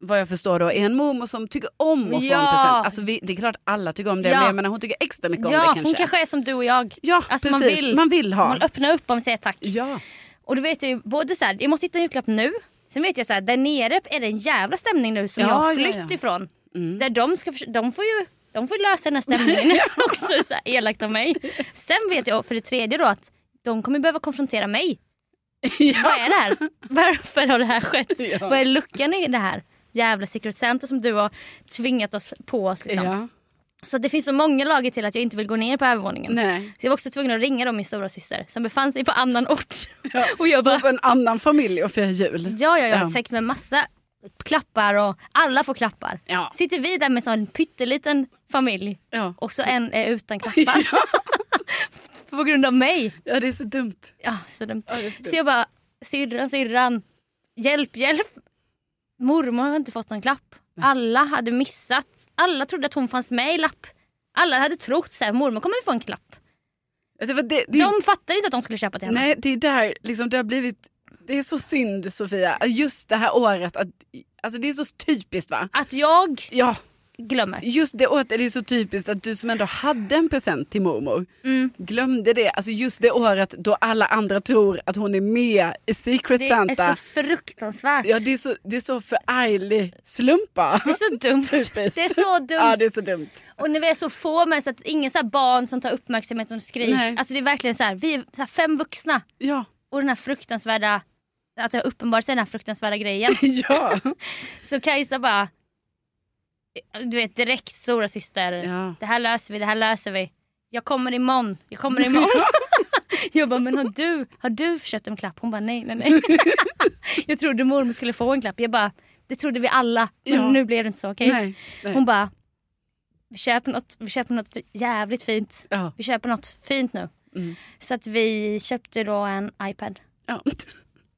Speaker 2: vad jag förstår då, är en mormor som tycker om att få en
Speaker 1: Ja.
Speaker 2: present. Alltså, vi, det är klart alla tycker om det,
Speaker 1: Ja.
Speaker 2: men jag menar, hon tycker extra mycket om
Speaker 1: ja,
Speaker 2: det kanske.
Speaker 1: hon kanske är som du och jag.
Speaker 2: Ja,
Speaker 1: Alltså,
Speaker 2: precis.
Speaker 1: man vill-
Speaker 2: ha.
Speaker 1: Man öppnar upp om säger tack.
Speaker 2: Ja.
Speaker 1: Och då vet jag ju både så här, jag måste hitta en julklapp nu. Sen vet jag så här, där nere är det en jävla stämning nu som
Speaker 2: Ja,
Speaker 1: jag har
Speaker 2: ja,
Speaker 1: flytt
Speaker 2: ja. Mm.
Speaker 1: ifrån. Där de, ska, förs- de får ju de får ju lösa den här stämningen också. Så här, elakt av mig. Sen vet jag för det tredje då att de kommer behöva konfrontera mig. Vad är det här? Varför har det här skett? Vad är luckan i det här? Jävla Secret Santa som du har tvingat oss på oss. Liksom.
Speaker 2: ja.
Speaker 1: Så det finns så många lager till att jag inte vill gå ner på övervåningen.
Speaker 2: Nej.
Speaker 1: Så jag var också tvungen att ringa då min stora syster som befann sig på annan ort. Och jag bara,
Speaker 2: Hos en annan familj och fira jul.
Speaker 1: ja ja,
Speaker 2: Ja.
Speaker 1: ja. säkert med massa klappar och alla får klappar.
Speaker 2: Ja.
Speaker 1: Sitter vi där med sån en pytteliten familj
Speaker 2: Ja.
Speaker 1: och så en är utan klappar. på grund av mig.
Speaker 2: ja, det är så dumt.
Speaker 1: Ja, så, dumt.
Speaker 2: det är så dumt.
Speaker 1: så jag bara, syrran, syrran, hjälp, hjälp. Mormor har inte fått någon klapp. Alla hade missat. Alla trodde att hon fanns med i lapp. Alla hade trott så här, mormor kommer få en klapp.
Speaker 2: Det, var- det, det,
Speaker 1: De fattade inte att de skulle köpa till henne.
Speaker 2: Nej, det är där liksom, det har blivit... Det är så synd, Sofia. Just det här året. Att, alltså det är så typiskt, va?
Speaker 1: Att jag
Speaker 2: Ja,
Speaker 1: glömmer.
Speaker 2: just det året är det så typiskt att du som ändå hade en present till mormor
Speaker 1: Mm.
Speaker 2: glömde det. Alltså just det året då alla andra tror att hon är med i Secret
Speaker 1: Det
Speaker 2: Santa.
Speaker 1: är så fruktansvärt.
Speaker 2: Ja, det är så, det är så förarglig slumpa.
Speaker 1: Det är så dumt.
Speaker 2: Typiskt.
Speaker 1: Det är så dumt.
Speaker 2: Ja, det är så dumt.
Speaker 1: Och när vi är så få med så att ingen så här barn som tar uppmärksamhet som
Speaker 2: Nej.
Speaker 1: skriker. Alltså det är verkligen så här, vi är så här fem vuxna
Speaker 2: Ja.
Speaker 1: och den här fruktansvärda, att jag uppenbarar sig den här fruktansvärda grejen.
Speaker 2: Ja.
Speaker 1: så Kajsa bara, du vet direkt stora syster.
Speaker 2: Ja.
Speaker 1: det här löser vi, det här löser vi. Jag kommer imorgon, jag kommer imorgon. Jag bara, men har du, har du köpt en klapp? Hon bara, nej, nej, nej. Jag trodde mormor skulle få en klapp. Jag bara, det trodde vi alla. Men
Speaker 2: Ja.
Speaker 1: nu blev det inte så, okej?
Speaker 2: Nej, nej.
Speaker 1: Hon bara, vi köper, något, vi köper något jävligt fint.
Speaker 2: Ja. Mm.
Speaker 1: Vi köper något fint nu. Så att vi köpte då en iPad.
Speaker 2: Ja.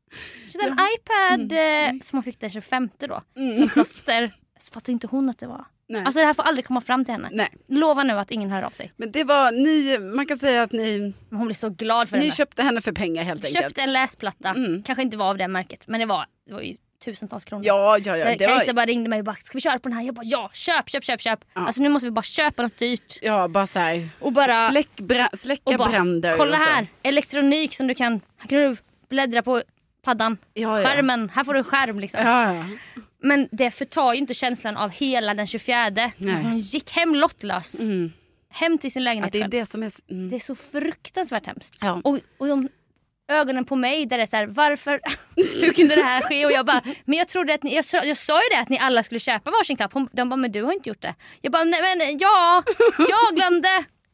Speaker 2: Mm.
Speaker 1: Så den iPad eh, som hon fick den 25 då, som plåster Så fattar inte hon att det var.
Speaker 2: Nej.
Speaker 1: Alltså det här får aldrig komma fram till henne.
Speaker 2: Nej.
Speaker 1: Lova nu att ingen hör av sig.
Speaker 2: Men det var, ni, man kan säga att ni,
Speaker 1: Men hon blir så glad för
Speaker 2: ni
Speaker 1: henne.
Speaker 2: köpte henne för pengar helt enkelt. Mm.
Speaker 1: Köpte en läsplatta. Kanske inte var av det märket men det var, det var ju tusentals kronor.
Speaker 2: Ja, ja, ja.
Speaker 1: Där
Speaker 2: Det
Speaker 1: Kajsa
Speaker 2: var,
Speaker 1: bara ringde mig och bara ska vi köra på den här? Jag bara ja, köp, köp, köp, köp. Alltså nu måste vi bara köpa något dyrt.
Speaker 2: ja bara så här.
Speaker 1: Och bara,
Speaker 2: Släck, bra, släcka
Speaker 1: och bara
Speaker 2: bränder.
Speaker 1: kolla
Speaker 2: och så.
Speaker 1: här, elektronik som du kan, här kan du bläddra på paddan.
Speaker 2: Ja, ja.
Speaker 1: Skärmen, här får du en skärm liksom.
Speaker 2: Ja, ja.
Speaker 1: Men det förtar ju inte känslan av hela den 24.
Speaker 2: Nej. Mm.
Speaker 1: Hon gick hem lottlös. Hem till sin lägenhet
Speaker 2: Att det är
Speaker 1: själv.
Speaker 2: det som är... s- Mm.
Speaker 1: Det är så fruktansvärt hemskt.
Speaker 2: Ja.
Speaker 1: Och, och de ögonen på mig där det är så här, varför, hur kunde det här ske? Och jag bara, men jag trodde att ni, jag, sa- jag sa ju det att ni alla skulle köpa varsin klapp. Hon, de bara, men du har inte gjort det. Jag bara, nej men ja, jag glömde.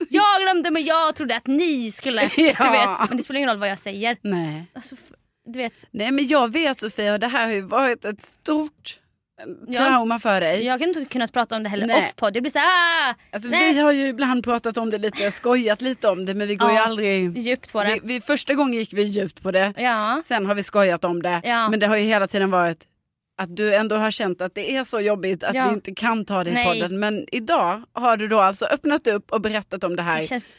Speaker 1: Jag glömde men jag trodde att ni skulle. Du
Speaker 2: Ja.
Speaker 1: vet, men det spelar ingen roll vad jag säger.
Speaker 2: Nej.
Speaker 1: Alltså, f- du vet,
Speaker 2: Nej, men jag vet Sofia, och det här har ju varit ett stort eh,
Speaker 1: Ja.
Speaker 2: trauma för dig.
Speaker 1: jag kan inte kunnat prata om det heller
Speaker 2: Nej.
Speaker 1: off-podd. Det blir så här, ah,
Speaker 2: Alltså,
Speaker 1: nej.
Speaker 2: vi har ju ibland pratat om det lite, skojat lite om det, men vi går ju
Speaker 1: Ja.
Speaker 2: aldrig...
Speaker 1: djupt på det.
Speaker 2: Vi, vi, första gången gick vi djupt på det,
Speaker 1: Ja.
Speaker 2: sen har vi skojat om det.
Speaker 1: Ja.
Speaker 2: Men det har ju hela tiden varit att du ändå har känt att det är så jobbigt att
Speaker 1: Ja.
Speaker 2: vi inte kan ta det i
Speaker 1: Nej.
Speaker 2: podden. Men idag har du då alltså öppnat upp och berättat om det här.
Speaker 1: Det känns,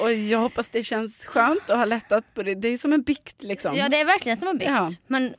Speaker 2: Och jag hoppas det känns skönt och har lättat på det. Det är som en bikt liksom.
Speaker 1: ja det är verkligen som en bikt.
Speaker 2: Ja.
Speaker 1: Men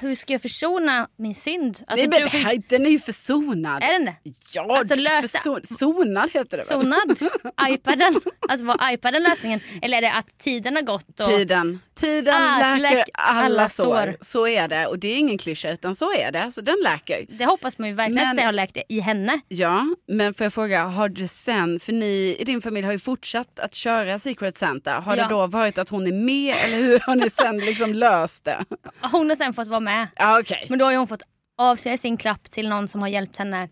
Speaker 1: hur ska jag försona min synd?
Speaker 2: Nej,
Speaker 1: Alltså,
Speaker 2: men
Speaker 1: du
Speaker 2: det
Speaker 1: får ju-
Speaker 2: här, den är ju försonad.
Speaker 1: Är den det?
Speaker 2: Ja,
Speaker 1: Alltså, lösa-
Speaker 2: förson- sonad heter det väl?
Speaker 1: Sonad? Ipaden? Alltså var Ipaden lösningen? Eller är det att tiden har gått? Och...
Speaker 2: Tiden. Tiden
Speaker 1: Ah,
Speaker 2: läker
Speaker 1: läk-
Speaker 2: alla,
Speaker 1: alla
Speaker 2: sår.
Speaker 1: sår.
Speaker 2: Så är det. Och det är ingen klyscha utan så är det. Så den läker.
Speaker 1: Det hoppas man ju verkligen
Speaker 2: Men-
Speaker 1: att det har läkt i henne.
Speaker 2: Ja, men får jag fråga, har du sen, för ni i din familj har ju fortsatt att köra Secret Santa. Har
Speaker 1: Ja.
Speaker 2: det då varit att hon är med eller hur har ni sen liksom löst det?
Speaker 1: Hon har sen fått vara med.
Speaker 2: Ja, okej.
Speaker 1: Men då har ju hon fått avsäga sin klapp till någon som har hjälpt henne.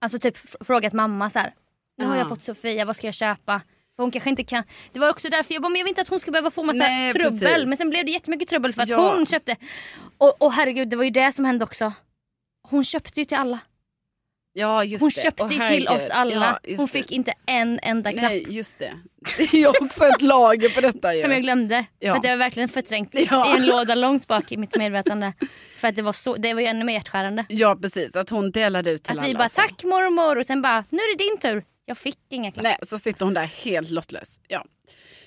Speaker 1: Alltså typ fr- frågat mamma så här. Nu har
Speaker 2: Ja.
Speaker 1: jag fått Sofia, vad ska jag köpa? För hon kanske inte kan. Det var också därför jag bara, men jag vill inte att hon ska behöva få massa
Speaker 2: Nej,
Speaker 1: trubbel.
Speaker 2: precis.
Speaker 1: Men sen blev det jättemycket trubbel för att
Speaker 2: Ja.
Speaker 1: hon köpte. Och, och herregud, det var ju det som hände också. Hon köpte ju till alla.
Speaker 2: Ja, just
Speaker 1: Hon
Speaker 2: det.
Speaker 1: köpte
Speaker 2: Åh,
Speaker 1: ju till
Speaker 2: herregud.
Speaker 1: oss alla.
Speaker 2: Ja, just
Speaker 1: hon
Speaker 2: det.
Speaker 1: fick inte en enda klapp.
Speaker 2: Nej, just det. Det är ju också ett lager på detta ju.
Speaker 1: Som jag glömde.
Speaker 2: Ja.
Speaker 1: För att jag var verkligen förträngt
Speaker 2: Ja.
Speaker 1: i en låda långt bak i mitt medvetande. För att det var, så, det var ju ännu mer hjärtskärande.
Speaker 2: Ja, precis. Att hon delade ut till
Speaker 1: Att
Speaker 2: alla.
Speaker 1: vi bara
Speaker 2: alltså.
Speaker 1: tack mormor och sen bara nu är det din tur. Jag fick inga klappar.
Speaker 2: Nej, så sitter hon där helt lottlös. Ja.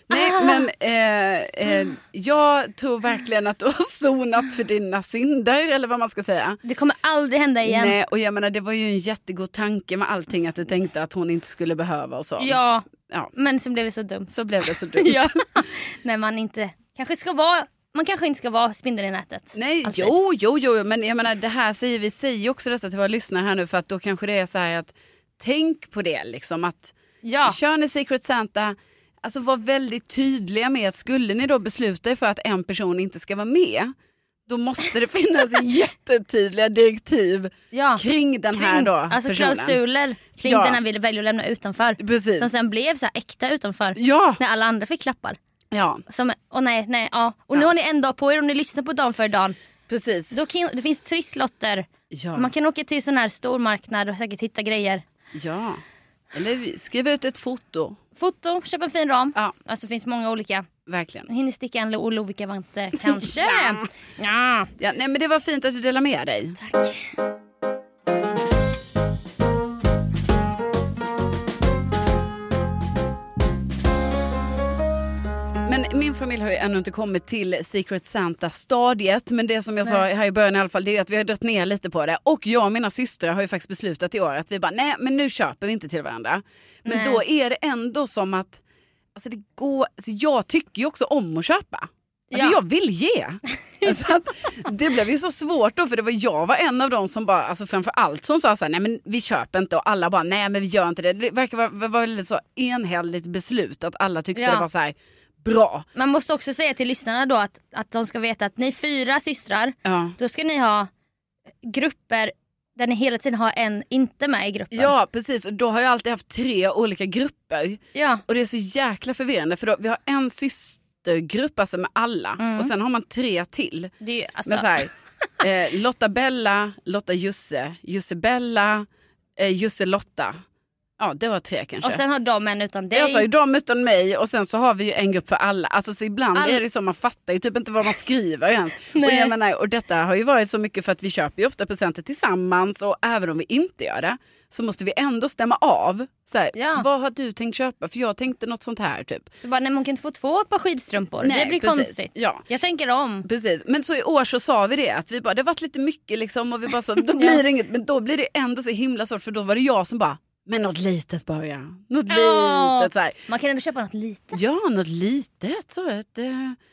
Speaker 2: Nej, men eh, eh, jag tror verkligen att du har sonat för dina synder, eller vad man ska säga.
Speaker 1: Det kommer aldrig hända igen.
Speaker 2: Nej, och jag menar, det var ju en jättegod tanke med allting, att du tänkte att hon inte skulle behöva och så.
Speaker 1: Ja,
Speaker 2: Ja,
Speaker 1: men så blev det så dumt.
Speaker 2: så blev det så dumt.
Speaker 1: ja. När man inte kanske ska vara, man kanske inte ska vara spindeln i nätet.
Speaker 2: Nej,
Speaker 1: Alltid.
Speaker 2: jo, jo, jo, men jag menar det här säger vi säger ju också detta till våra lyssnare här nu för att då kanske det är så här att tänk på det liksom att
Speaker 1: Ja.
Speaker 2: Kör ni Secret Santa, alltså var väldigt tydliga med att skulle ni då besluta er för att en person inte ska vara med, då måste det finnas jättetydliga direktiv
Speaker 1: Ja.
Speaker 2: kring den här då
Speaker 1: alltså
Speaker 2: personen.
Speaker 1: klausuler kring
Speaker 2: Ja.
Speaker 1: den han ville välja att lämna utanför.
Speaker 2: Precis.
Speaker 1: Som sen blev så här äkta utanför.
Speaker 2: Ja,
Speaker 1: När alla andra fick klappar.
Speaker 2: ja,
Speaker 1: Som, och nej, nej, ja. Och nu har ni en dag på er om ni lyssnar på Dan för Dan.
Speaker 2: precis.
Speaker 1: Då kan, det finns trisslotter.
Speaker 2: Ja.
Speaker 1: Man kan åka till sån här stormarknad och säkert hitta grejer.
Speaker 2: ja. Eller skriv ut ett foto,
Speaker 1: Foto, köp en fin ram.
Speaker 2: Ja.
Speaker 1: Alltså det finns många olika.
Speaker 2: verkligen.
Speaker 1: Man hinner sticka en Lo- Lovikka-vante kanske. ja. ja.
Speaker 2: Ja, nej, men det var fint att du delade med dig.
Speaker 1: Tack.
Speaker 2: Men min familj har ju ännu inte kommit till Secret Santa-stadiet. Men det som jag sa här i början i alla fall, det är ju att vi har dragit ner lite på det. Och jag och mina systrar har ju faktiskt beslutat i år att vi bara, nej men nu köper vi inte till varandra. Men
Speaker 1: Nej.
Speaker 2: då är det ändå som att, alltså det går, alltså jag tycker ju också om att köpa. Alltså
Speaker 1: Ja.
Speaker 2: jag vill ge. Alltså att, det blev ju så svårt då för det var jag var en av dem som bara, alltså framför allt som sa så här, nej men vi köper inte och alla bara, nej men vi gör inte det. Det verkar vara, vara väldigt så enhälligt beslut att alla tyckte
Speaker 1: Ja.
Speaker 2: det var så här bra.
Speaker 1: Man måste också säga till lyssnarna då att, att de ska veta att ni är fyra systrar.
Speaker 2: Ja.
Speaker 1: Då ska ni ha grupper där ni hela tiden har en inte med i gruppen.
Speaker 2: Ja precis och då har jag alltid haft tre olika grupper.
Speaker 1: ja.
Speaker 2: Och det är så jäkla förvirrande för då, vi har en systergrupp alltså med alla
Speaker 1: Mm.
Speaker 2: och sen har man tre till.
Speaker 1: Det är ju, alltså,
Speaker 2: Med så här, eh, Lotta Bella, Lotta Jusse, Jusse Bella, eh, Jusse Lotta. Ja, det var tre kanske.
Speaker 1: Och sen har de en utan dig.
Speaker 2: jag sa ju de utan mig och sen så har vi ju en grupp för alla. Alltså så ibland
Speaker 1: All-
Speaker 2: är det så man fattar ju typ inte vad man skriver ens. och,
Speaker 1: Nej.
Speaker 2: jag menar, och detta har ju varit så mycket för att vi köper ju ofta presenter tillsammans och även om vi inte gör det så måste vi ändå stämma av. Så här,
Speaker 1: Ja.
Speaker 2: Vad har du tänkt köpa? För jag tänkte något sånt här typ.
Speaker 1: Så bara, nej men hon kan inte få två par skidstrumpor.
Speaker 2: Nej,
Speaker 1: det blir
Speaker 2: precis.
Speaker 1: konstigt.
Speaker 2: Ja.
Speaker 1: Jag tänker om.
Speaker 2: Precis, men så i år så sa vi det att vi bara, det har varit lite mycket liksom och vi bara så, då blir det inget, men då blir det ändå så himla svårt för då var det jag som bara, men något litet bara, ja. något
Speaker 1: Ja.
Speaker 2: litet så här.
Speaker 1: Man kan ändå köpa något litet.
Speaker 2: Ja, något litet, så ett, eh,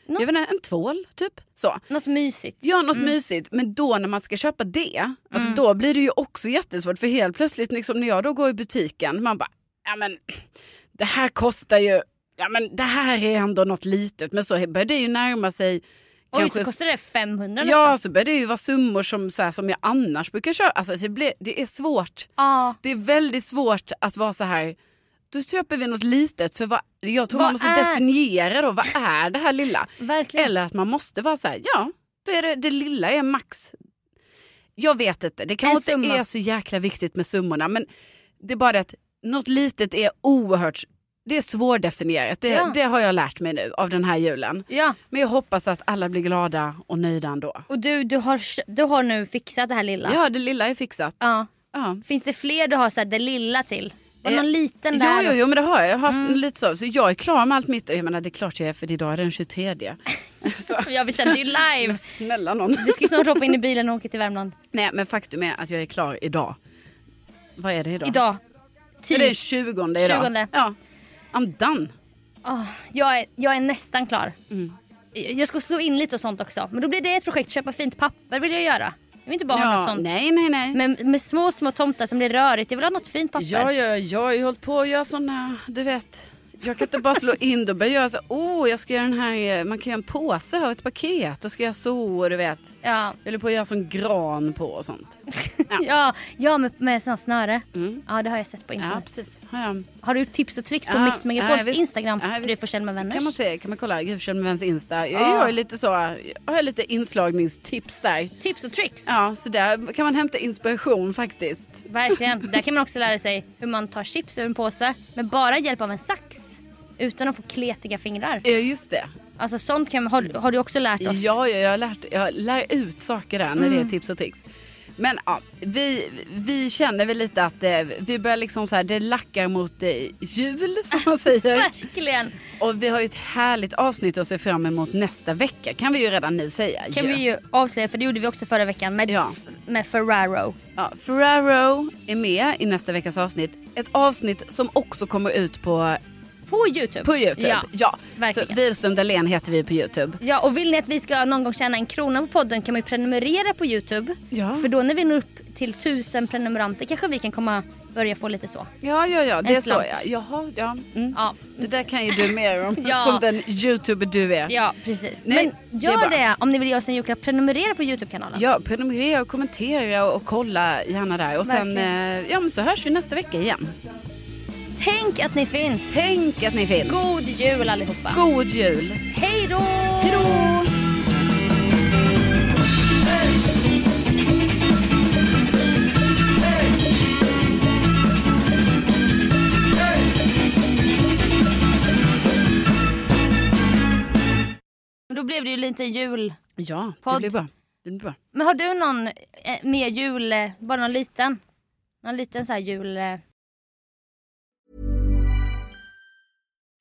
Speaker 2: jag vet inte, en tvål typ. Så.
Speaker 1: Något mysigt.
Speaker 2: Ja, något mysigt. Men då när man ska köpa det, alltså,
Speaker 1: Mm.
Speaker 2: då blir det ju också jättesvårt. För helt plötsligt liksom, när jag då går i butiken, man bara, ja men det här kostar ju, ja men det här är ändå något litet. Men så börjar det ju närma sig
Speaker 1: Oj,
Speaker 2: kanske
Speaker 1: så kostar det 500
Speaker 2: Ja,
Speaker 1: nästan.
Speaker 2: så börjar det ju vara summor som, så här, som jag annars brukar köpa. Alltså, det, blir, det är svårt.
Speaker 1: Ja.
Speaker 2: Det är väldigt svårt att vara så här, då köper vi något litet. För vad, jag tror
Speaker 1: Vad
Speaker 2: man måste
Speaker 1: är-
Speaker 2: definiera då, vad är det här lilla?
Speaker 1: Verkligen.
Speaker 2: Eller att man måste vara så här, ja, då är det, det lilla är max. Jag vet inte, det kanske
Speaker 1: En
Speaker 2: inte
Speaker 1: summa.
Speaker 2: är så jäkla viktigt med summorna. Men det är bara det att något litet är oerhört, det är svårdefinierat. Det,
Speaker 1: Ja.
Speaker 2: det har jag lärt mig nu av den här julen.
Speaker 1: Ja.
Speaker 2: Men jag hoppas att alla blir glada och nöjda ändå.
Speaker 1: Och du, du, har, kö- du har nu fixat det här lilla.
Speaker 2: Ja, det lilla är fixat.
Speaker 1: Ja.
Speaker 2: Ja.
Speaker 1: Finns det fler du har så här, det lilla till? Och
Speaker 2: Eh,
Speaker 1: någon liten
Speaker 2: Jo,
Speaker 1: där?
Speaker 2: jo, jo, men det har jag. Jag har haft lite så. Så jag är klar med allt mitt. Jag menar, det är klart jag är för idag är det den 23. så.
Speaker 1: Ja, vi sänder ju live.
Speaker 2: Men snälla någon.
Speaker 1: Du ska ju snart hoppa in i bilen och åka till Värmland.
Speaker 2: Nej, men faktum är att jag är klar idag. Vad är det idag?
Speaker 1: Idag.
Speaker 2: Är det den
Speaker 1: Tis.
Speaker 2: 20 idag?
Speaker 1: 20.
Speaker 2: Ja. I'm done.
Speaker 1: Åh, Ah, jag, är, jag är nästan klar.
Speaker 2: Mm.
Speaker 1: Eh, Jag ska slå in lite och sånt också. Men då blir det ett projekt. Köpa fint papper vill jag göra. Jag vill inte bara ha något sånt.
Speaker 2: nej, nej, nej.
Speaker 1: Med, med små, små tomtar som blir rörigt. Jag vill ha något fint papper.
Speaker 2: Ja, ja, jag har ju hållit på att göra såna, du vet. Jag kan inte bara slå in och börja göra så. Åh, oh, jag ska göra den här, eh, man kan göra en påse av ett paket. Och ska jag så, och du vet.
Speaker 1: Ja,
Speaker 2: Jag håller på att göra sån gran på och sånt.
Speaker 1: ja, ja med, med sån snöre. Ja, det har jag sett på internet.
Speaker 2: Mm. Ja, precis. Har jag.
Speaker 1: Har du gjort tips och tricks på
Speaker 2: Ja,
Speaker 1: Mix Megapols
Speaker 2: ja, visst.
Speaker 1: Instagram?
Speaker 2: Ja,
Speaker 1: Gry
Speaker 2: visst.
Speaker 1: Forssell med vänner.
Speaker 2: kan man se, kan man kolla Gry Forssell med väns Insta. Jag
Speaker 1: Ja.
Speaker 2: gör lite så, jag har lite inslagningstips där.
Speaker 1: Tips och tricks.
Speaker 2: Ja, så där kan man hämta inspiration faktiskt.
Speaker 1: Verkligen. Där kan man också lära sig hur man tar chips ur en påse med bara hjälp av en sax. Utan att få kletiga fingrar.
Speaker 2: Ja, just det.
Speaker 1: Alltså sånt kan, har, har du också lärt
Speaker 2: Ja,
Speaker 1: oss.
Speaker 2: ja, jag, lärt, jag lär ut saker där när
Speaker 1: Mm.
Speaker 2: det är tips och tricks. Men ja, vi, vi känner väl lite att eh, vi börjar liksom så här, det lackar mot eh, jul som man säger.
Speaker 1: Verkligen.
Speaker 2: och vi har ju ett härligt avsnitt att se fram emot nästa vecka kan vi ju redan nu säga.
Speaker 1: Kan vi ju avslöja, för det gjorde vi också förra veckan med,
Speaker 2: Ja.
Speaker 1: med Ferraro.
Speaker 2: Ja, Ferraro är med i nästa veckas avsnitt. Ett avsnitt som också kommer ut på,
Speaker 1: På Youtube.
Speaker 2: på Youtube.
Speaker 1: Ja.
Speaker 2: Så
Speaker 1: verkligen.
Speaker 2: Wihlström Dahlén heter vi på Youtube.
Speaker 1: Ja, och vill ni att vi ska någon gång tjäna en krona på podden kan man ju prenumerera på Youtube.
Speaker 2: Ja.
Speaker 1: För då när vi når upp till tusen prenumeranter kanske vi kan komma börja få lite så.
Speaker 2: Ja, ja, ja. Det är så
Speaker 1: slant.
Speaker 2: ja. Jaha, ja. Mm.
Speaker 1: Ja,
Speaker 2: Det där kan ju du mer om
Speaker 1: Ja.
Speaker 2: som den youtuber du är.
Speaker 1: ja precis.
Speaker 2: Nej,
Speaker 1: Men
Speaker 2: det är bra.
Speaker 1: gör det, om ni vill ge oss en julklapp. Prenumerera på Youtube-kanalen.
Speaker 2: Ja, prenumerera och kommentera och, och kolla gärna där. Och sen,
Speaker 1: Verkligen.
Speaker 2: eh, ja men så hörs vi nästa vecka igen.
Speaker 1: Tänk att ni finns.
Speaker 2: Tänk att ni finns.
Speaker 1: God jul allihopa.
Speaker 2: God jul.
Speaker 1: Hej då!
Speaker 2: Hejdå!
Speaker 1: Men Då blev det ju lite jul.
Speaker 2: Ja, det
Speaker 1: Podd.
Speaker 2: blir bra. Det blir bra.
Speaker 1: Men har du någon eh, mer jul, eh, bara någon liten? Någon liten så här jul... Eh,